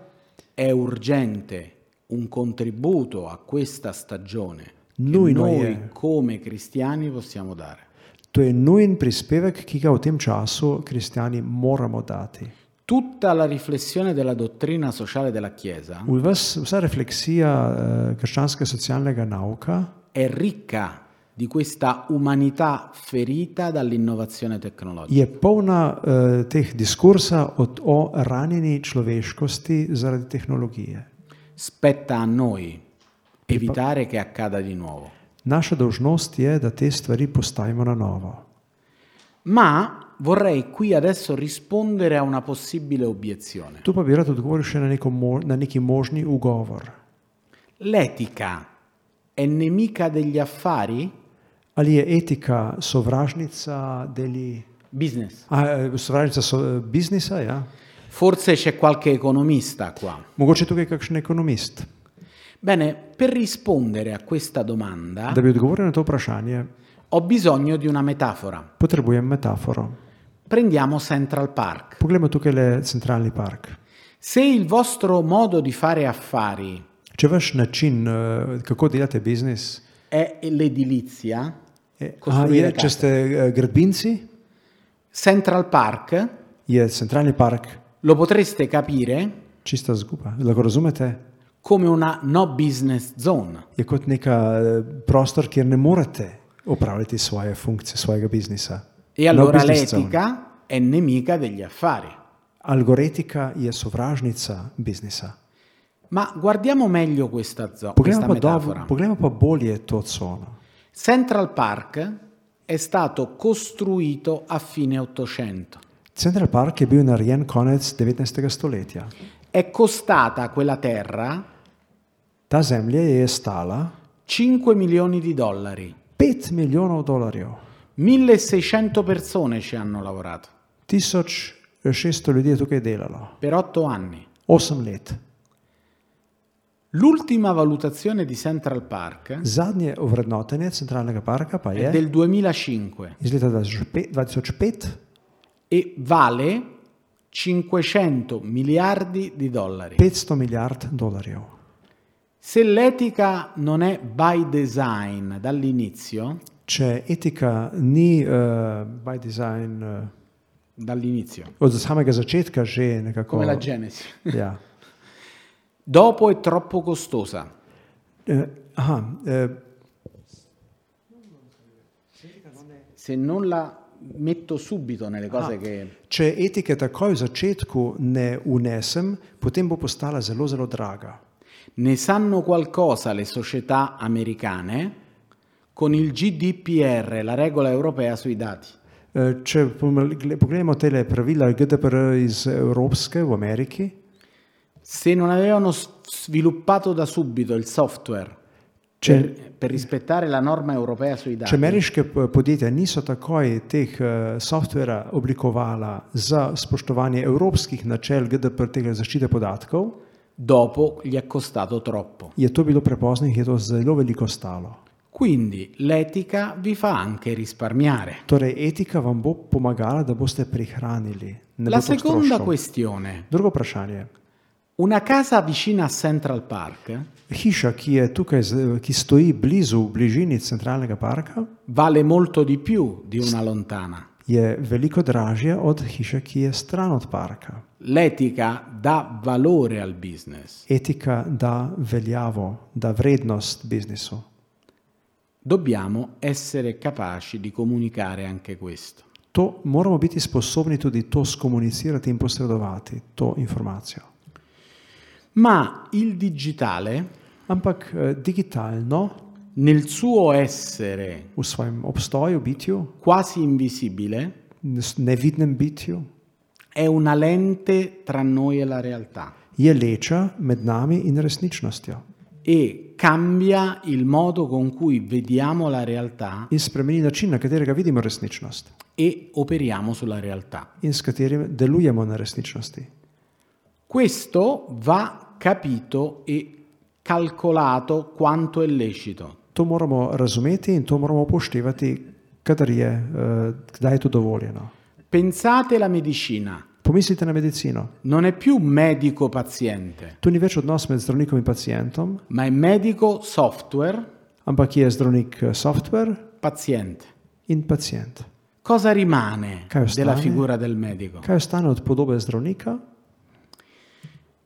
Speaker 3: è urgente un contributo a questa stagione
Speaker 4: Noi,
Speaker 3: che
Speaker 4: noi,
Speaker 3: noi
Speaker 4: eh.
Speaker 3: come cristiani possiamo dare.
Speaker 4: To je nujen prispevek, ki ga v tem času kristijani moramo dati.
Speaker 3: Tutta la riflessione della dottrina sociale della Chiesa
Speaker 4: V vas, vsa refleksija eh, krščanskega socialnega nauka
Speaker 3: è ricca di questa umanità ferita dall'innovazione tecnologica.
Speaker 4: je polna eh, teh diskursa od, o ranjeni človeškosti zaradi tehnologije.
Speaker 3: Spetta a noi evitare che accada di nuovo.
Speaker 4: Naša dolžnost je, da te stvari postavimo na novo.
Speaker 3: Ma vorrei qui adesso rispondere a una possibile obiezione.
Speaker 4: Tu pa bi rad odgovoril še na, neko, mo- na neki možni ugovor.
Speaker 3: L'etica è nemica degli affari?
Speaker 4: ali je etika sovražnica deli,
Speaker 3: Business.
Speaker 4: a, eh, sovražnica so, biznisa? Ja?
Speaker 3: Forse c'è qualche economista qua.
Speaker 4: Mogoče je tukaj kakšen ekonomist.
Speaker 3: Bene, per rispondere a questa domanda
Speaker 4: Da bi odgovoril na to vprašanje,
Speaker 3: ho bisogno di una metafora.
Speaker 4: potrebujem metaforo.
Speaker 3: Prendiamo Central Park.
Speaker 4: Poglejmo tukaj le centralni park.
Speaker 3: Se il vostro modo di fare affari
Speaker 4: Če vaš način, eh, kako delate biznis,
Speaker 3: è l'edilizia,
Speaker 4: je- a,
Speaker 3: Costruire
Speaker 4: je, če
Speaker 3: case.
Speaker 4: ste eh, gradbinci,
Speaker 3: Central Park
Speaker 4: je centralni park
Speaker 3: lo potreste capire
Speaker 4: čista zguba. Lahko razumete,
Speaker 3: come una no business zone.
Speaker 4: je kot neka eh, prostor, kjer ne morete opravljati svoje funkcije, svojega biznisa.
Speaker 3: E allora
Speaker 4: No business zone.
Speaker 3: l'etica è nemica degli affari.
Speaker 4: Algoretika je sovražnica biznisa.
Speaker 3: Ma guardiamo meglio questa, zo-
Speaker 4: Poglejmo
Speaker 3: questa
Speaker 4: pa, dob,
Speaker 3: metafora.
Speaker 4: poglejmo pa bolje to cono.
Speaker 3: Central Park è stato costruito a fine Ottocento.
Speaker 4: Central Park je bil narejen konec 19. stoletja.
Speaker 3: È costata quella terra
Speaker 4: Ta zemlja je stala
Speaker 3: 5 milioni di dollari.
Speaker 4: 5 milijonov dolarjev.
Speaker 3: 1600 persone ci hanno lavorato
Speaker 4: 1600 ljudi je tukaj delalo,
Speaker 3: per 8 anni.
Speaker 4: 8 let.
Speaker 3: L'ultima valutazione di Central Park
Speaker 4: Zadnje ovrednotenje centralnega parka pa
Speaker 3: è
Speaker 4: je
Speaker 3: del 2005
Speaker 4: iz leta 2005, 2005
Speaker 3: e vale 500 miliardi di dollari.
Speaker 4: 500 milijard dolarjev.
Speaker 3: Se l'etica non è by design dall'inizio,
Speaker 4: Če etika ni uh, by design uh,
Speaker 3: dall'inizio,
Speaker 4: od samega začetka že nekako.
Speaker 3: come la Genesi,
Speaker 4: Ja.
Speaker 3: dopo è troppo costosa.
Speaker 4: Uh, aha, uh,
Speaker 3: Se non la metto subito nelle cose che...
Speaker 4: če etike takoj v začetku ne unesem, potem bo postala zelo, zelo draga.
Speaker 3: Ne sanno qualcosa le società americane con il GDPR, la regola europea sui dati.
Speaker 4: Eh, Če pomel- gle- pogledamo te pravila GDPR iz Evropske v Ameriki,
Speaker 3: Se non avevano s- sviluppato da subito il software
Speaker 4: če,
Speaker 3: per rispettare la norma europea sui dati,
Speaker 4: če ameriške p- podjetja niso takoj teh eh, softvera oblikovala za spoštovanje evropskih načel GDPR tega zaščite podatkov,
Speaker 3: dopo gli è costato troppo.
Speaker 4: je to bilo prepozno in je to zelo veliko stalo.
Speaker 3: Quindi l'etica vi fa anche risparmiare.
Speaker 4: Torej, etika vam bo pomagala, da boste prihranili. ne
Speaker 3: La
Speaker 4: bo toliko
Speaker 3: seconda
Speaker 4: stroškov.
Speaker 3: questione.
Speaker 4: Drugo vprašanje.
Speaker 3: Una casa vicina a Central Park
Speaker 4: Hiša, ki je tukaj, z- ki stoji blizu, v bližini centralnega parka,
Speaker 3: vale molto di più di una lontana.
Speaker 4: je veliko dražja od hiše, ki je stran od parka.
Speaker 3: L'etica dà valore al business.
Speaker 4: Etika da veljavo, da vrednost biznisu.
Speaker 3: Dobbiamo essere capaci di comunicare anche questo.
Speaker 4: To moramo biti sposobni tudi to skomunicirati in posredovati, to informacijo.
Speaker 3: Ma il digitale,
Speaker 4: Ampak eh, digitalno,
Speaker 3: nel suo essere
Speaker 4: v svojem obstoju, bitju,
Speaker 3: quasi invisibile,
Speaker 4: s- nevidnem bitju,
Speaker 3: è una lente tra noi e la realtà
Speaker 4: je leča med nami in resničnostjo
Speaker 3: e cambia il modo con cui vediamo la realtà
Speaker 4: in spremeni način, na katerega vidimo resničnost
Speaker 3: e operiamo sulla realtà.
Speaker 4: in s katerim delujemo na resničnosti.
Speaker 3: Questo va capito e calcolato quanto è lecito.
Speaker 4: To moramo razumeti in to moramo upoštevati, kadar je, eh, kdaj je to dovoljeno.
Speaker 3: Pensate alla medicina,
Speaker 4: Pomislite na medicino.
Speaker 3: non è più medico-paziente,
Speaker 4: Tu ni več odnos med zdravnikom in pacijentom,
Speaker 3: ma è medico-software-paziente.
Speaker 4: ampak je zdravnik eh, software in pacijent.
Speaker 3: Cosa rimane
Speaker 4: Che ostane?
Speaker 3: della figura del medico?
Speaker 4: Kaj ostane od podobe zdravnika?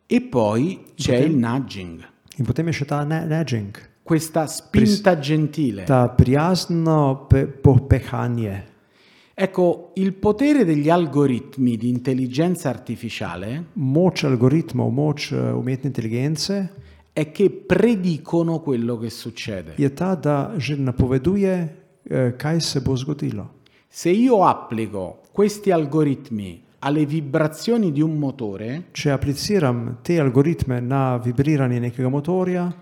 Speaker 3: E poi c'è il nudging,
Speaker 4: In potem je še ta ne- nudging,
Speaker 3: questa spinta gentile.
Speaker 4: ta prijazno pe popehanje.
Speaker 3: Ecco, il potere degli algoritmi di intelligenza artificiale
Speaker 4: Moč algoritmov, moč eh, umetne inteligence
Speaker 3: è che predicono quello che succede.
Speaker 4: je ta, da že napoveduje, eh, kaj se bo zgodilo.
Speaker 3: Se io applico questi algoritmi alle vibrazioni di un motore,
Speaker 4: Če apliciram te algoritme na vibriranje nekega motorja,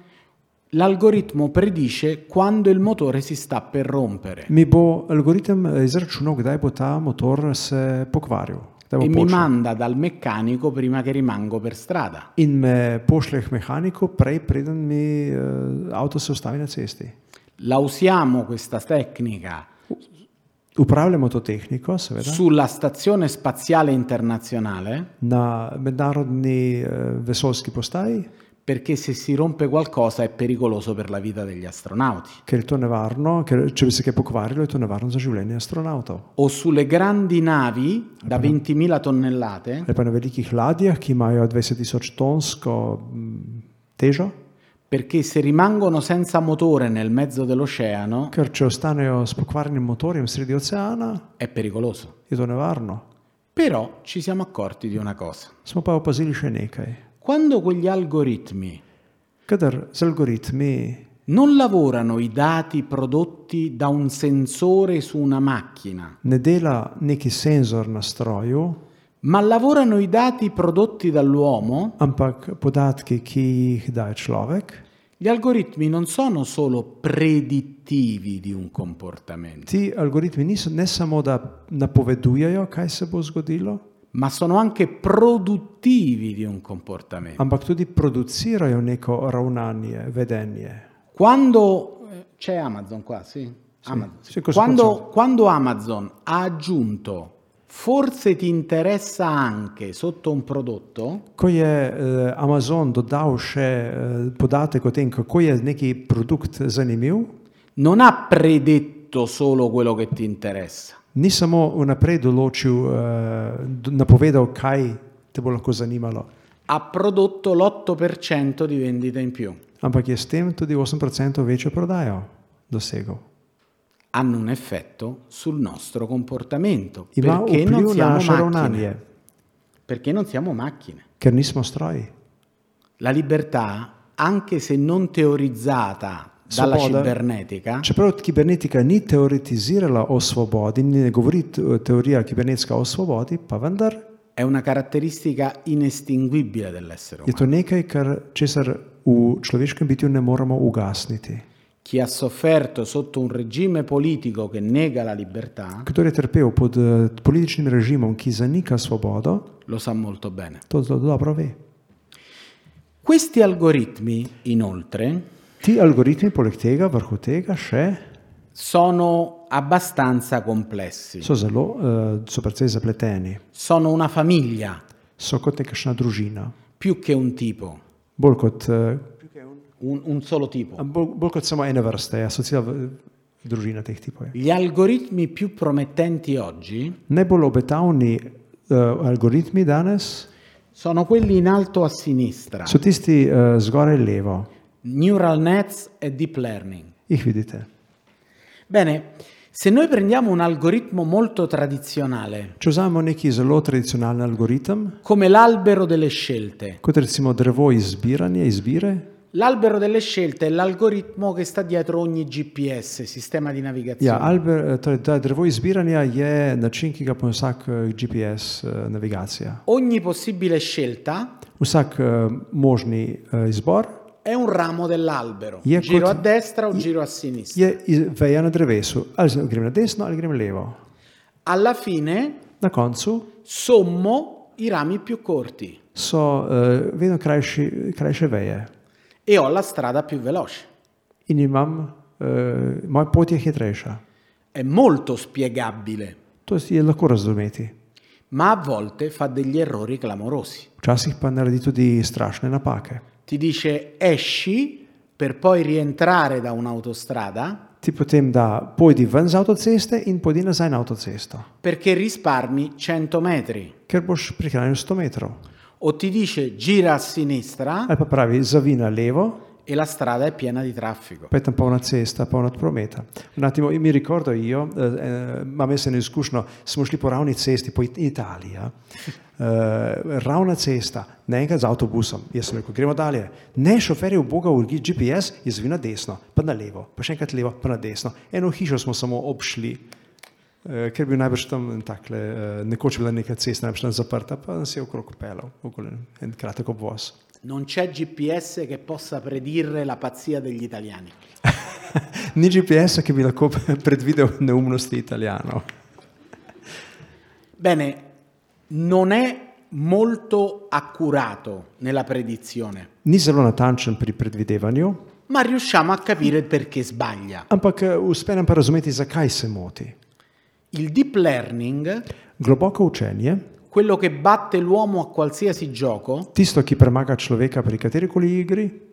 Speaker 3: l'algoritmo predice quando il motore si sta per rompere
Speaker 4: Mi bo algoritem eh, izračunal, kdaj bo ta motor se pokvaril. kdaj bo
Speaker 3: e mi
Speaker 4: počil.
Speaker 3: manda dal meccanico prima che rimango per strada.
Speaker 4: In me pošlje k mehaniku, prej preden mi eh, avto se ustavi na cesti.
Speaker 3: La usiamo questa tecnica
Speaker 4: Upravljamo to tehniko, seveda,
Speaker 3: sulla Stazione Spaziale Internazionale
Speaker 4: na mednarodni eh, vesoljski postaji,
Speaker 3: perché se si rompe qualcosa è pericoloso per la vita degli astronauti.
Speaker 4: ker je to nevarno, ker če bi se kaj pokvarilo, je to nevarno za življenje astronautov.
Speaker 3: O sulle grandi navi da 20.000 tonnellate
Speaker 4: Ali pa na velikih ladjah, ki imajo 20.000 tonsko mm, težo,
Speaker 3: perché se rimangono senza motore nel mezzo dell'oceano
Speaker 4: ker če ostanejo s pokvarjenim motorjem sredi oceana,
Speaker 3: è pericoloso.
Speaker 4: je to nevarno.
Speaker 3: Però ci siamo accorti di una cosa.
Speaker 4: Smo pa opazili še nekaj.
Speaker 3: Quando quegli algoritmi
Speaker 4: Kadar z algoritmi
Speaker 3: non lavorano i dati prodotti da un sensore su una macchina,
Speaker 4: ne dela neki senzor na stroju,
Speaker 3: ma lavorano i dati prodotti dall'uomo,
Speaker 4: ampak podatki, ki jih daje človek,
Speaker 3: gli algoritmi non sono solo predittivi di un comportamento,
Speaker 4: ti algoritmi niso ne samo, da napovedujejo, kaj se bo zgodilo,
Speaker 3: ma sono anche produttivi di un comportamento.
Speaker 4: ampak tudi producirajo neko ravnanje, vedenje.
Speaker 3: Quando eh, c'è Amazon qua, sì? Amazon, sì.
Speaker 4: sì, questo
Speaker 3: Quando,
Speaker 4: funziona.
Speaker 3: quando Amazon ha aggiunto forse ti interessa anche sotto un prodotto,
Speaker 4: Ko je eh, Amazon dodal še eh, podatek o tem, kako je neki produkt zanimiv,
Speaker 3: non ha predetto solo quello che ti interessa,
Speaker 4: ni samo vnaprej določil, eh, d- napovedal, kaj te bo lahko zanimalo,
Speaker 3: ha prodotto l'8% di vendita in più.
Speaker 4: ampak je s tem tudi 8% večjo prodajo dosegel.
Speaker 3: Hanno un effetto sul nostro comportamento
Speaker 4: Ima
Speaker 3: perché non
Speaker 4: vpliv na
Speaker 3: siamo
Speaker 4: naše
Speaker 3: macchine.
Speaker 4: ravnanje,
Speaker 3: Perché non siamo macchine.
Speaker 4: ker nismo stroji.
Speaker 3: La libertà, anche se non teorizzata dalla
Speaker 4: Svoboda,
Speaker 3: cibernetica,
Speaker 4: Čeprav kibernetika ni teoretizirala o svobodi, ni- ne govori t- teorija kibernetska o svobodi, pa vendar
Speaker 3: è una caratteristica inestinguibile dell'essere
Speaker 4: je
Speaker 3: umano.
Speaker 4: to nekaj, kar česar v človeškem bitju ne moremo ugasniti.
Speaker 3: Chi ha sofferto sotto un regime politico che nega la libertà
Speaker 4: Kdo je trpel pod eh, političnim režimom, ki zanika svobodo,
Speaker 3: lo sa molto bene.
Speaker 4: to zelo dobro ve.
Speaker 3: Questi algoritmi, inoltre,
Speaker 4: Ti algoritmi, poleg tega, vrhu tega, še
Speaker 3: sono abbastanza complessi.
Speaker 4: so zelo, eh, so precej zapleteni.
Speaker 3: Sono una famiglia
Speaker 4: So kot nekakšna družina,
Speaker 3: più che un tipo,
Speaker 4: bolj kot, eh,
Speaker 3: un, un solo tipo.
Speaker 4: bolj, bolj kot samo ene vrste, ja, so cela v- družina teh tipov. ja. je.
Speaker 3: Gli algoritmi più promettenti oggi
Speaker 4: Najbolj obetavni eh, algoritmi danes
Speaker 3: sono quelli in alto a sinistra,
Speaker 4: so tisti eh, zgoraj levo,
Speaker 3: neural nets e deep learning.
Speaker 4: jih vidite.
Speaker 3: Bene, se noi prendiamo un algoritmo molto tradizionale,
Speaker 4: Če vzamemo neki zelo tradicionalen algoritem,
Speaker 3: come l'albero delle scelte,
Speaker 4: kot recimo drevo izbiranja, izbire,
Speaker 3: l'albero delle scelte è l'algoritmo che sta dietro ogni GPS, sistema di navigazione.
Speaker 4: ja, alber, eh, torej, da drevo izbiranja je način, ki ga ponuja vsak eh, GPS eh, navigacija.
Speaker 3: Ogni possibile scelta
Speaker 4: Vsak eh, možni eh, izbor
Speaker 3: È un ramo dell'albero.
Speaker 4: Je
Speaker 3: giro
Speaker 4: kot-
Speaker 3: a destra o
Speaker 4: je-
Speaker 3: giro a sinistra.
Speaker 4: je iz- veja na drevesu, ali z- grem na desno ali grem levo.
Speaker 3: Alla fine
Speaker 4: Na koncu
Speaker 3: sommo i rami più corti
Speaker 4: so eh, vedno krajši, krajše veje
Speaker 3: e ho la strada più veloce.
Speaker 4: in imam, eh, moja pot je hitrejša.
Speaker 3: È molto spiegabile,
Speaker 4: To je lahko razumeti.
Speaker 3: ma a volte fa degli errori clamorosi.
Speaker 4: Včasih pa naredi tudi strašne napake.
Speaker 3: Ti dice esci per poi rientrare da un'autostrada
Speaker 4: Ti potem da, pojdi ven z avtoceste in pojdi nazaj na avtocesto,
Speaker 3: perché risparmi 100 metri.
Speaker 4: ker boš prihranil 100 metrov.
Speaker 3: O ti dice gira a sinistra
Speaker 4: Ali pa pravi, zavina levo,
Speaker 3: e la strada è piena di traffico.
Speaker 4: Poi è un po' una cesta, poi una prometa. Un attimo, io mi ricordo io, eh, eh, ma me se ne izkušnjo, smo šli po ravni cesti, po It- Italiji. ja. Eh, ravna cesta, ne enkrat z avtobusom. Jaz sem rekel, gremo dalje. Ne, šofer je ubogal urgi GPS, izvi na desno, pa na levo, pa še enkrat levo, pa na desno. Eno hišo smo samo obšli, eh, ker bi najbrž tam en takle, eh, nekoč bila neka cesta, najbrž tam zaprta, pa nas je okrog pelal, okoli en kratek obvoz.
Speaker 3: Non c'è GPS che possa predire la pazzia degli italiani.
Speaker 4: Ni GPS che mi lahko predvidel neumnosti italijanov.
Speaker 3: Bene, non è molto accurato nella predizione,
Speaker 4: Ni zelo natančen pri predvidevanju,
Speaker 3: ma riusciamo a capire perché sbaglia.
Speaker 4: ampak eh, uspe nam pa razumeti, zakaj se moti.
Speaker 3: Il deep learning,
Speaker 4: Globoko učenje,
Speaker 3: quello che batte l'uomo a qualsiasi gioco,
Speaker 4: tisto, ki premaga človeka pri katerikoli igri,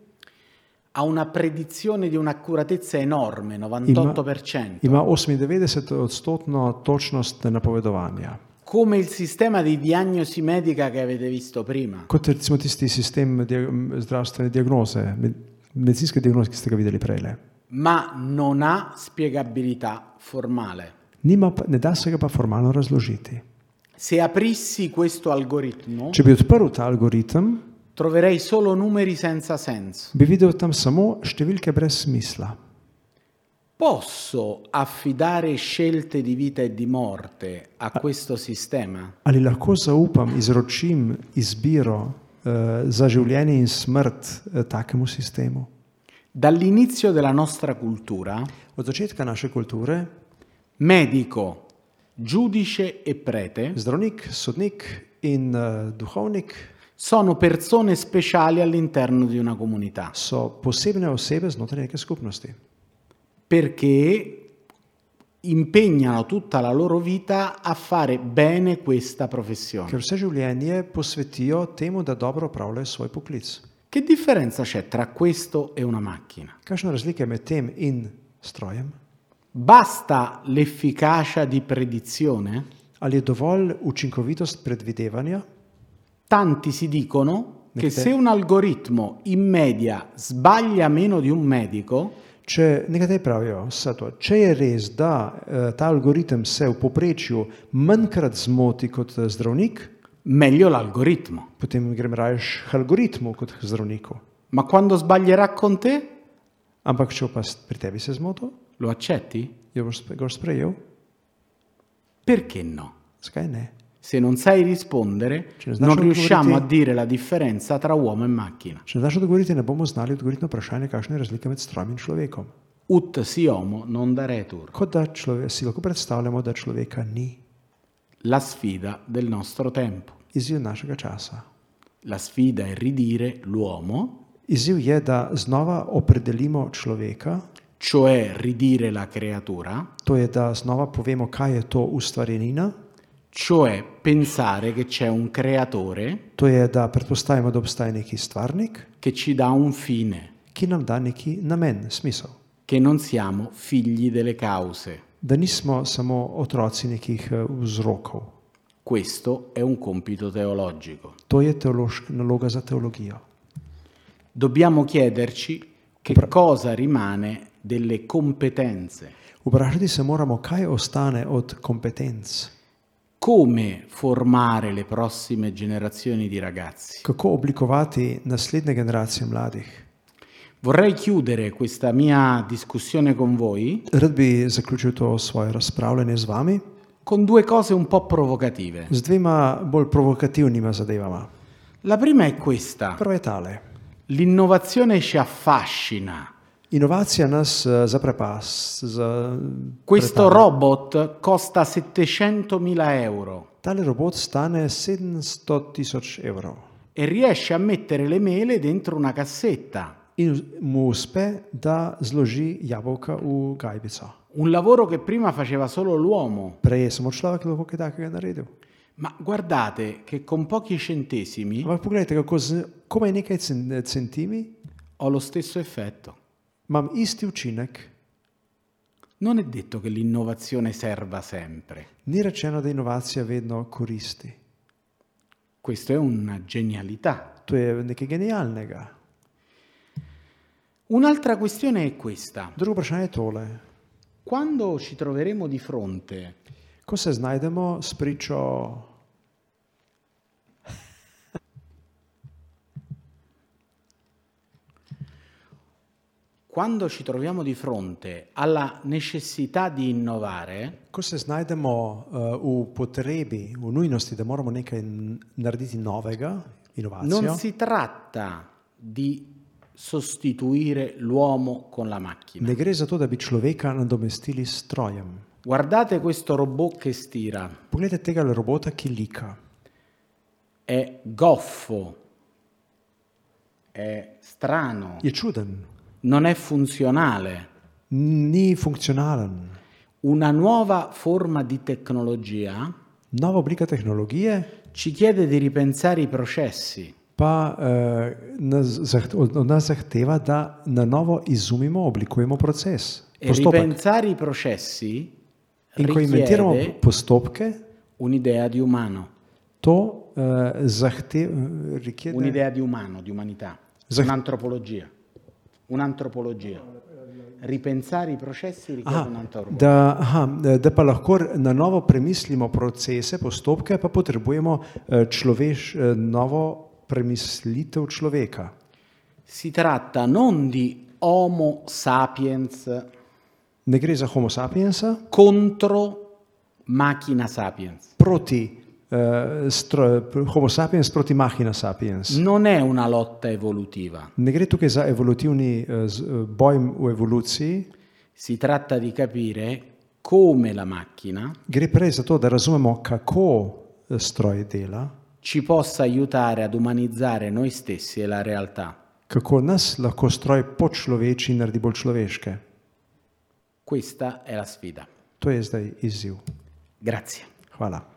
Speaker 3: ha una predizione di un'accuratezza enorme,
Speaker 4: ima,
Speaker 3: 98%.
Speaker 4: ima 98-odstotno točnost napovedovanja.
Speaker 3: Come il sistema di diagnosi medica che avete visto prima.
Speaker 4: Kot recimo tisti sistem dia, zdravstvene diagnoze, med, medicinske diagnoze, ki ste ga videli prej.
Speaker 3: ma non ha spiegabilità formale.
Speaker 4: Nima, pa- ne da se ga pa formalno razložiti.
Speaker 3: Se aprissi questo algoritmo,
Speaker 4: Če bi odprl ta algoritem,
Speaker 3: troverei solo numeri senza senso.
Speaker 4: bi videl tam samo številke brez smisla.
Speaker 3: Posso affidare scelte di vita e di morte a questo sistema?
Speaker 4: Ali lahko zaupam, izročim izbiro eh, za življenje in smrt eh, takemu sistemu?
Speaker 3: Dall'inizio della nostra cultura,
Speaker 4: Od začetka naše kulture,
Speaker 3: medico, giudice e prete
Speaker 4: zdravnik, sodnik in eh, duhovnik
Speaker 3: sono persone speciali all'interno di una comunità,
Speaker 4: so posebne osebe znotraj neke skupnosti,
Speaker 3: perché impegnano tutta la loro vita a fare bene questa professione.
Speaker 4: ker vse življenje posvetijo temu, da dobro opravljajo svoj poklic.
Speaker 3: Che differenza c'è tra questo e una macchina?
Speaker 4: Kakšna razlika je med tem in strojem?
Speaker 3: Basta l'efficacia di predizione?
Speaker 4: Ali je dovolj učinkovitost predvidevanja?
Speaker 3: Tanti si dicono che
Speaker 4: Perché?
Speaker 3: se un algoritmo in media sbaglia meno di un medico,
Speaker 4: Če nekateri pravijo, vse to, če je res, da eh, ta algoritem se v poprečju manjkrat zmoti kot eh, zdravnik,
Speaker 3: meglio l'algoritmo.
Speaker 4: potem grem rajš k algoritmu kot k zdravniku.
Speaker 3: Ma quando sbaglierà con te,
Speaker 4: Ampak če pa s- pri tebi se zmotil,
Speaker 3: lo accetti?
Speaker 4: jo boš spre- ga boš sprejel,
Speaker 3: Perché no?
Speaker 4: zakaj ne?
Speaker 3: Se non sai rispondere,
Speaker 4: Cioè,
Speaker 3: non
Speaker 4: lascia
Speaker 3: riusciamo a
Speaker 4: pure te.
Speaker 3: dire la differenza tra uomo e macchina.
Speaker 4: Če ne znaš odgovoriti, ne bomo znali odgovoriti na vprašanje, kakšna je razlika med strojem in človekom.
Speaker 3: Ut si homo non daretur.
Speaker 4: Kot da človek, si lahko predstavljamo, da človeka ni
Speaker 3: La sfida del nostro tempo.
Speaker 4: izziv našega časa.
Speaker 3: La sfida è ridire l'uomo
Speaker 4: Izziv je, da znova opredelimo človeka,
Speaker 3: cioè ridire la creatura,
Speaker 4: to je, da znova povemo, kaj je to ustvarjenina,
Speaker 3: cioè pensare che c'è un creatore
Speaker 4: To je, da predpostavimo, da obstaja neki stvarnik,
Speaker 3: che ci dà un fine,
Speaker 4: ki nam da neki namen, smisel.
Speaker 3: che non siamo figli delle cause.
Speaker 4: Da nismo samo otroci nekih eh, vzrokov.
Speaker 3: Questo è un compito teologico.
Speaker 4: To je teološka naloga za teologijo.
Speaker 3: Dobbiamo chiederci che cosa rimane delle competenze,
Speaker 4: Vprašati se moramo, kaj ostane od kompetenc,
Speaker 3: come formare le prossime generazioni di ragazzi.
Speaker 4: kako oblikovati naslednje generacije mladih.
Speaker 3: Vorrei chiudere questa mia discussione con voi
Speaker 4: Rad bi zaključil to svoje razpravljanje z vami
Speaker 3: con due cose un po' provocative.
Speaker 4: z dvema bolj provokativnima zadevama.
Speaker 3: La prima è questa.
Speaker 4: Prva je tale.
Speaker 3: L'innovazione ci affascina.
Speaker 4: Inovacija nas eh, zaprepas. Za,
Speaker 3: Questo
Speaker 4: prepara.
Speaker 3: robot costa 700.000 euro
Speaker 4: Tale robot stane 700 tisoč evrov
Speaker 3: e riesce a mettere le mele dentro una cassetta.
Speaker 4: in mu uspe, da zloži jabolka v gajbico.
Speaker 3: Un lavoro che prima faceva solo l'uomo.
Speaker 4: Prej je samo človek lahko kaj takega naredil.
Speaker 3: Ma guardate che con pochi centesimi
Speaker 4: Ampak pogledajte, kako z komaj nekaj cen- centimi
Speaker 3: ho lo stesso effetto.
Speaker 4: imam isti učinek.
Speaker 3: Non è detto che l'innovazione serva sempre.
Speaker 4: Ni rečeno, da inovacija vedno koristi.
Speaker 3: Questo è una genialità.
Speaker 4: To je nekaj genialnega.
Speaker 3: Un'altra questione è questa.
Speaker 4: Drugo vprašanje je tole.
Speaker 3: Quando ci troveremo di fronte
Speaker 4: Ko se znajdemo s pričo,
Speaker 3: Quando ci troviamo di fronte alla necessità di innovare,
Speaker 4: ko se znajdemo eh, v potrebi, v nujnosti, da moramo nekaj n- narediti novega inovazijo.
Speaker 3: Non si tratta di sostituire l'uomo con la macchina.
Speaker 4: Ne gre za to, da bi človeka nadomestili s strojem.
Speaker 3: Guardate questo robot che stira,
Speaker 4: Poglejte tega robota, ki lika.
Speaker 3: è goffo, è strano,
Speaker 4: Je čuden,
Speaker 3: non è funzionale.
Speaker 4: ni funkcionalen.
Speaker 3: Una nuova forma di tecnologia
Speaker 4: Nova oblika tehnologije
Speaker 3: ci chiede di ripensare i processi,
Speaker 4: pa eh, nas, zaht- od od nas zahteva, da na novo izumimo, oblikujemo proces.
Speaker 3: E
Speaker 4: Postopek.
Speaker 3: ripensare i processi
Speaker 4: In ko inventiramo
Speaker 3: richiede
Speaker 4: postopke,
Speaker 3: un'idea di umano,
Speaker 4: to eh, zahteva,
Speaker 3: un'idea di umano, di umanità,
Speaker 4: Esatto.
Speaker 3: un'antropologia, un'antropologia. Ripensare i processi richiede
Speaker 4: Aha,
Speaker 3: un'antropologia.
Speaker 4: da, aha, da pa lahko na novo premislimo procese, postopke, pa potrebujemo eh, človeš, eh, novo premislitev človeka.
Speaker 3: Si tratta non di Homo sapiens
Speaker 4: Ne gre za homo sapiensa
Speaker 3: contro macchina sapiens.
Speaker 4: proti eh, stro, homo sapiens proti machina sapiens.
Speaker 3: Non è una lotta evolutiva,
Speaker 4: Ne gre tukaj za evolutivni eh, z- eh, boj v evoluciji,
Speaker 3: si tratta di capire come la macchina
Speaker 4: gre prej za to, da razumemo, kako eh, stroj dela,
Speaker 3: ci possa aiutare ad umanizzare noi stessi e la realtà.
Speaker 4: kako nas lahko stroj počloveči in naredi bolj človeške.
Speaker 3: Questa è la sfida.
Speaker 4: To je zdaj izziv.
Speaker 3: Grazie.
Speaker 4: Hvala.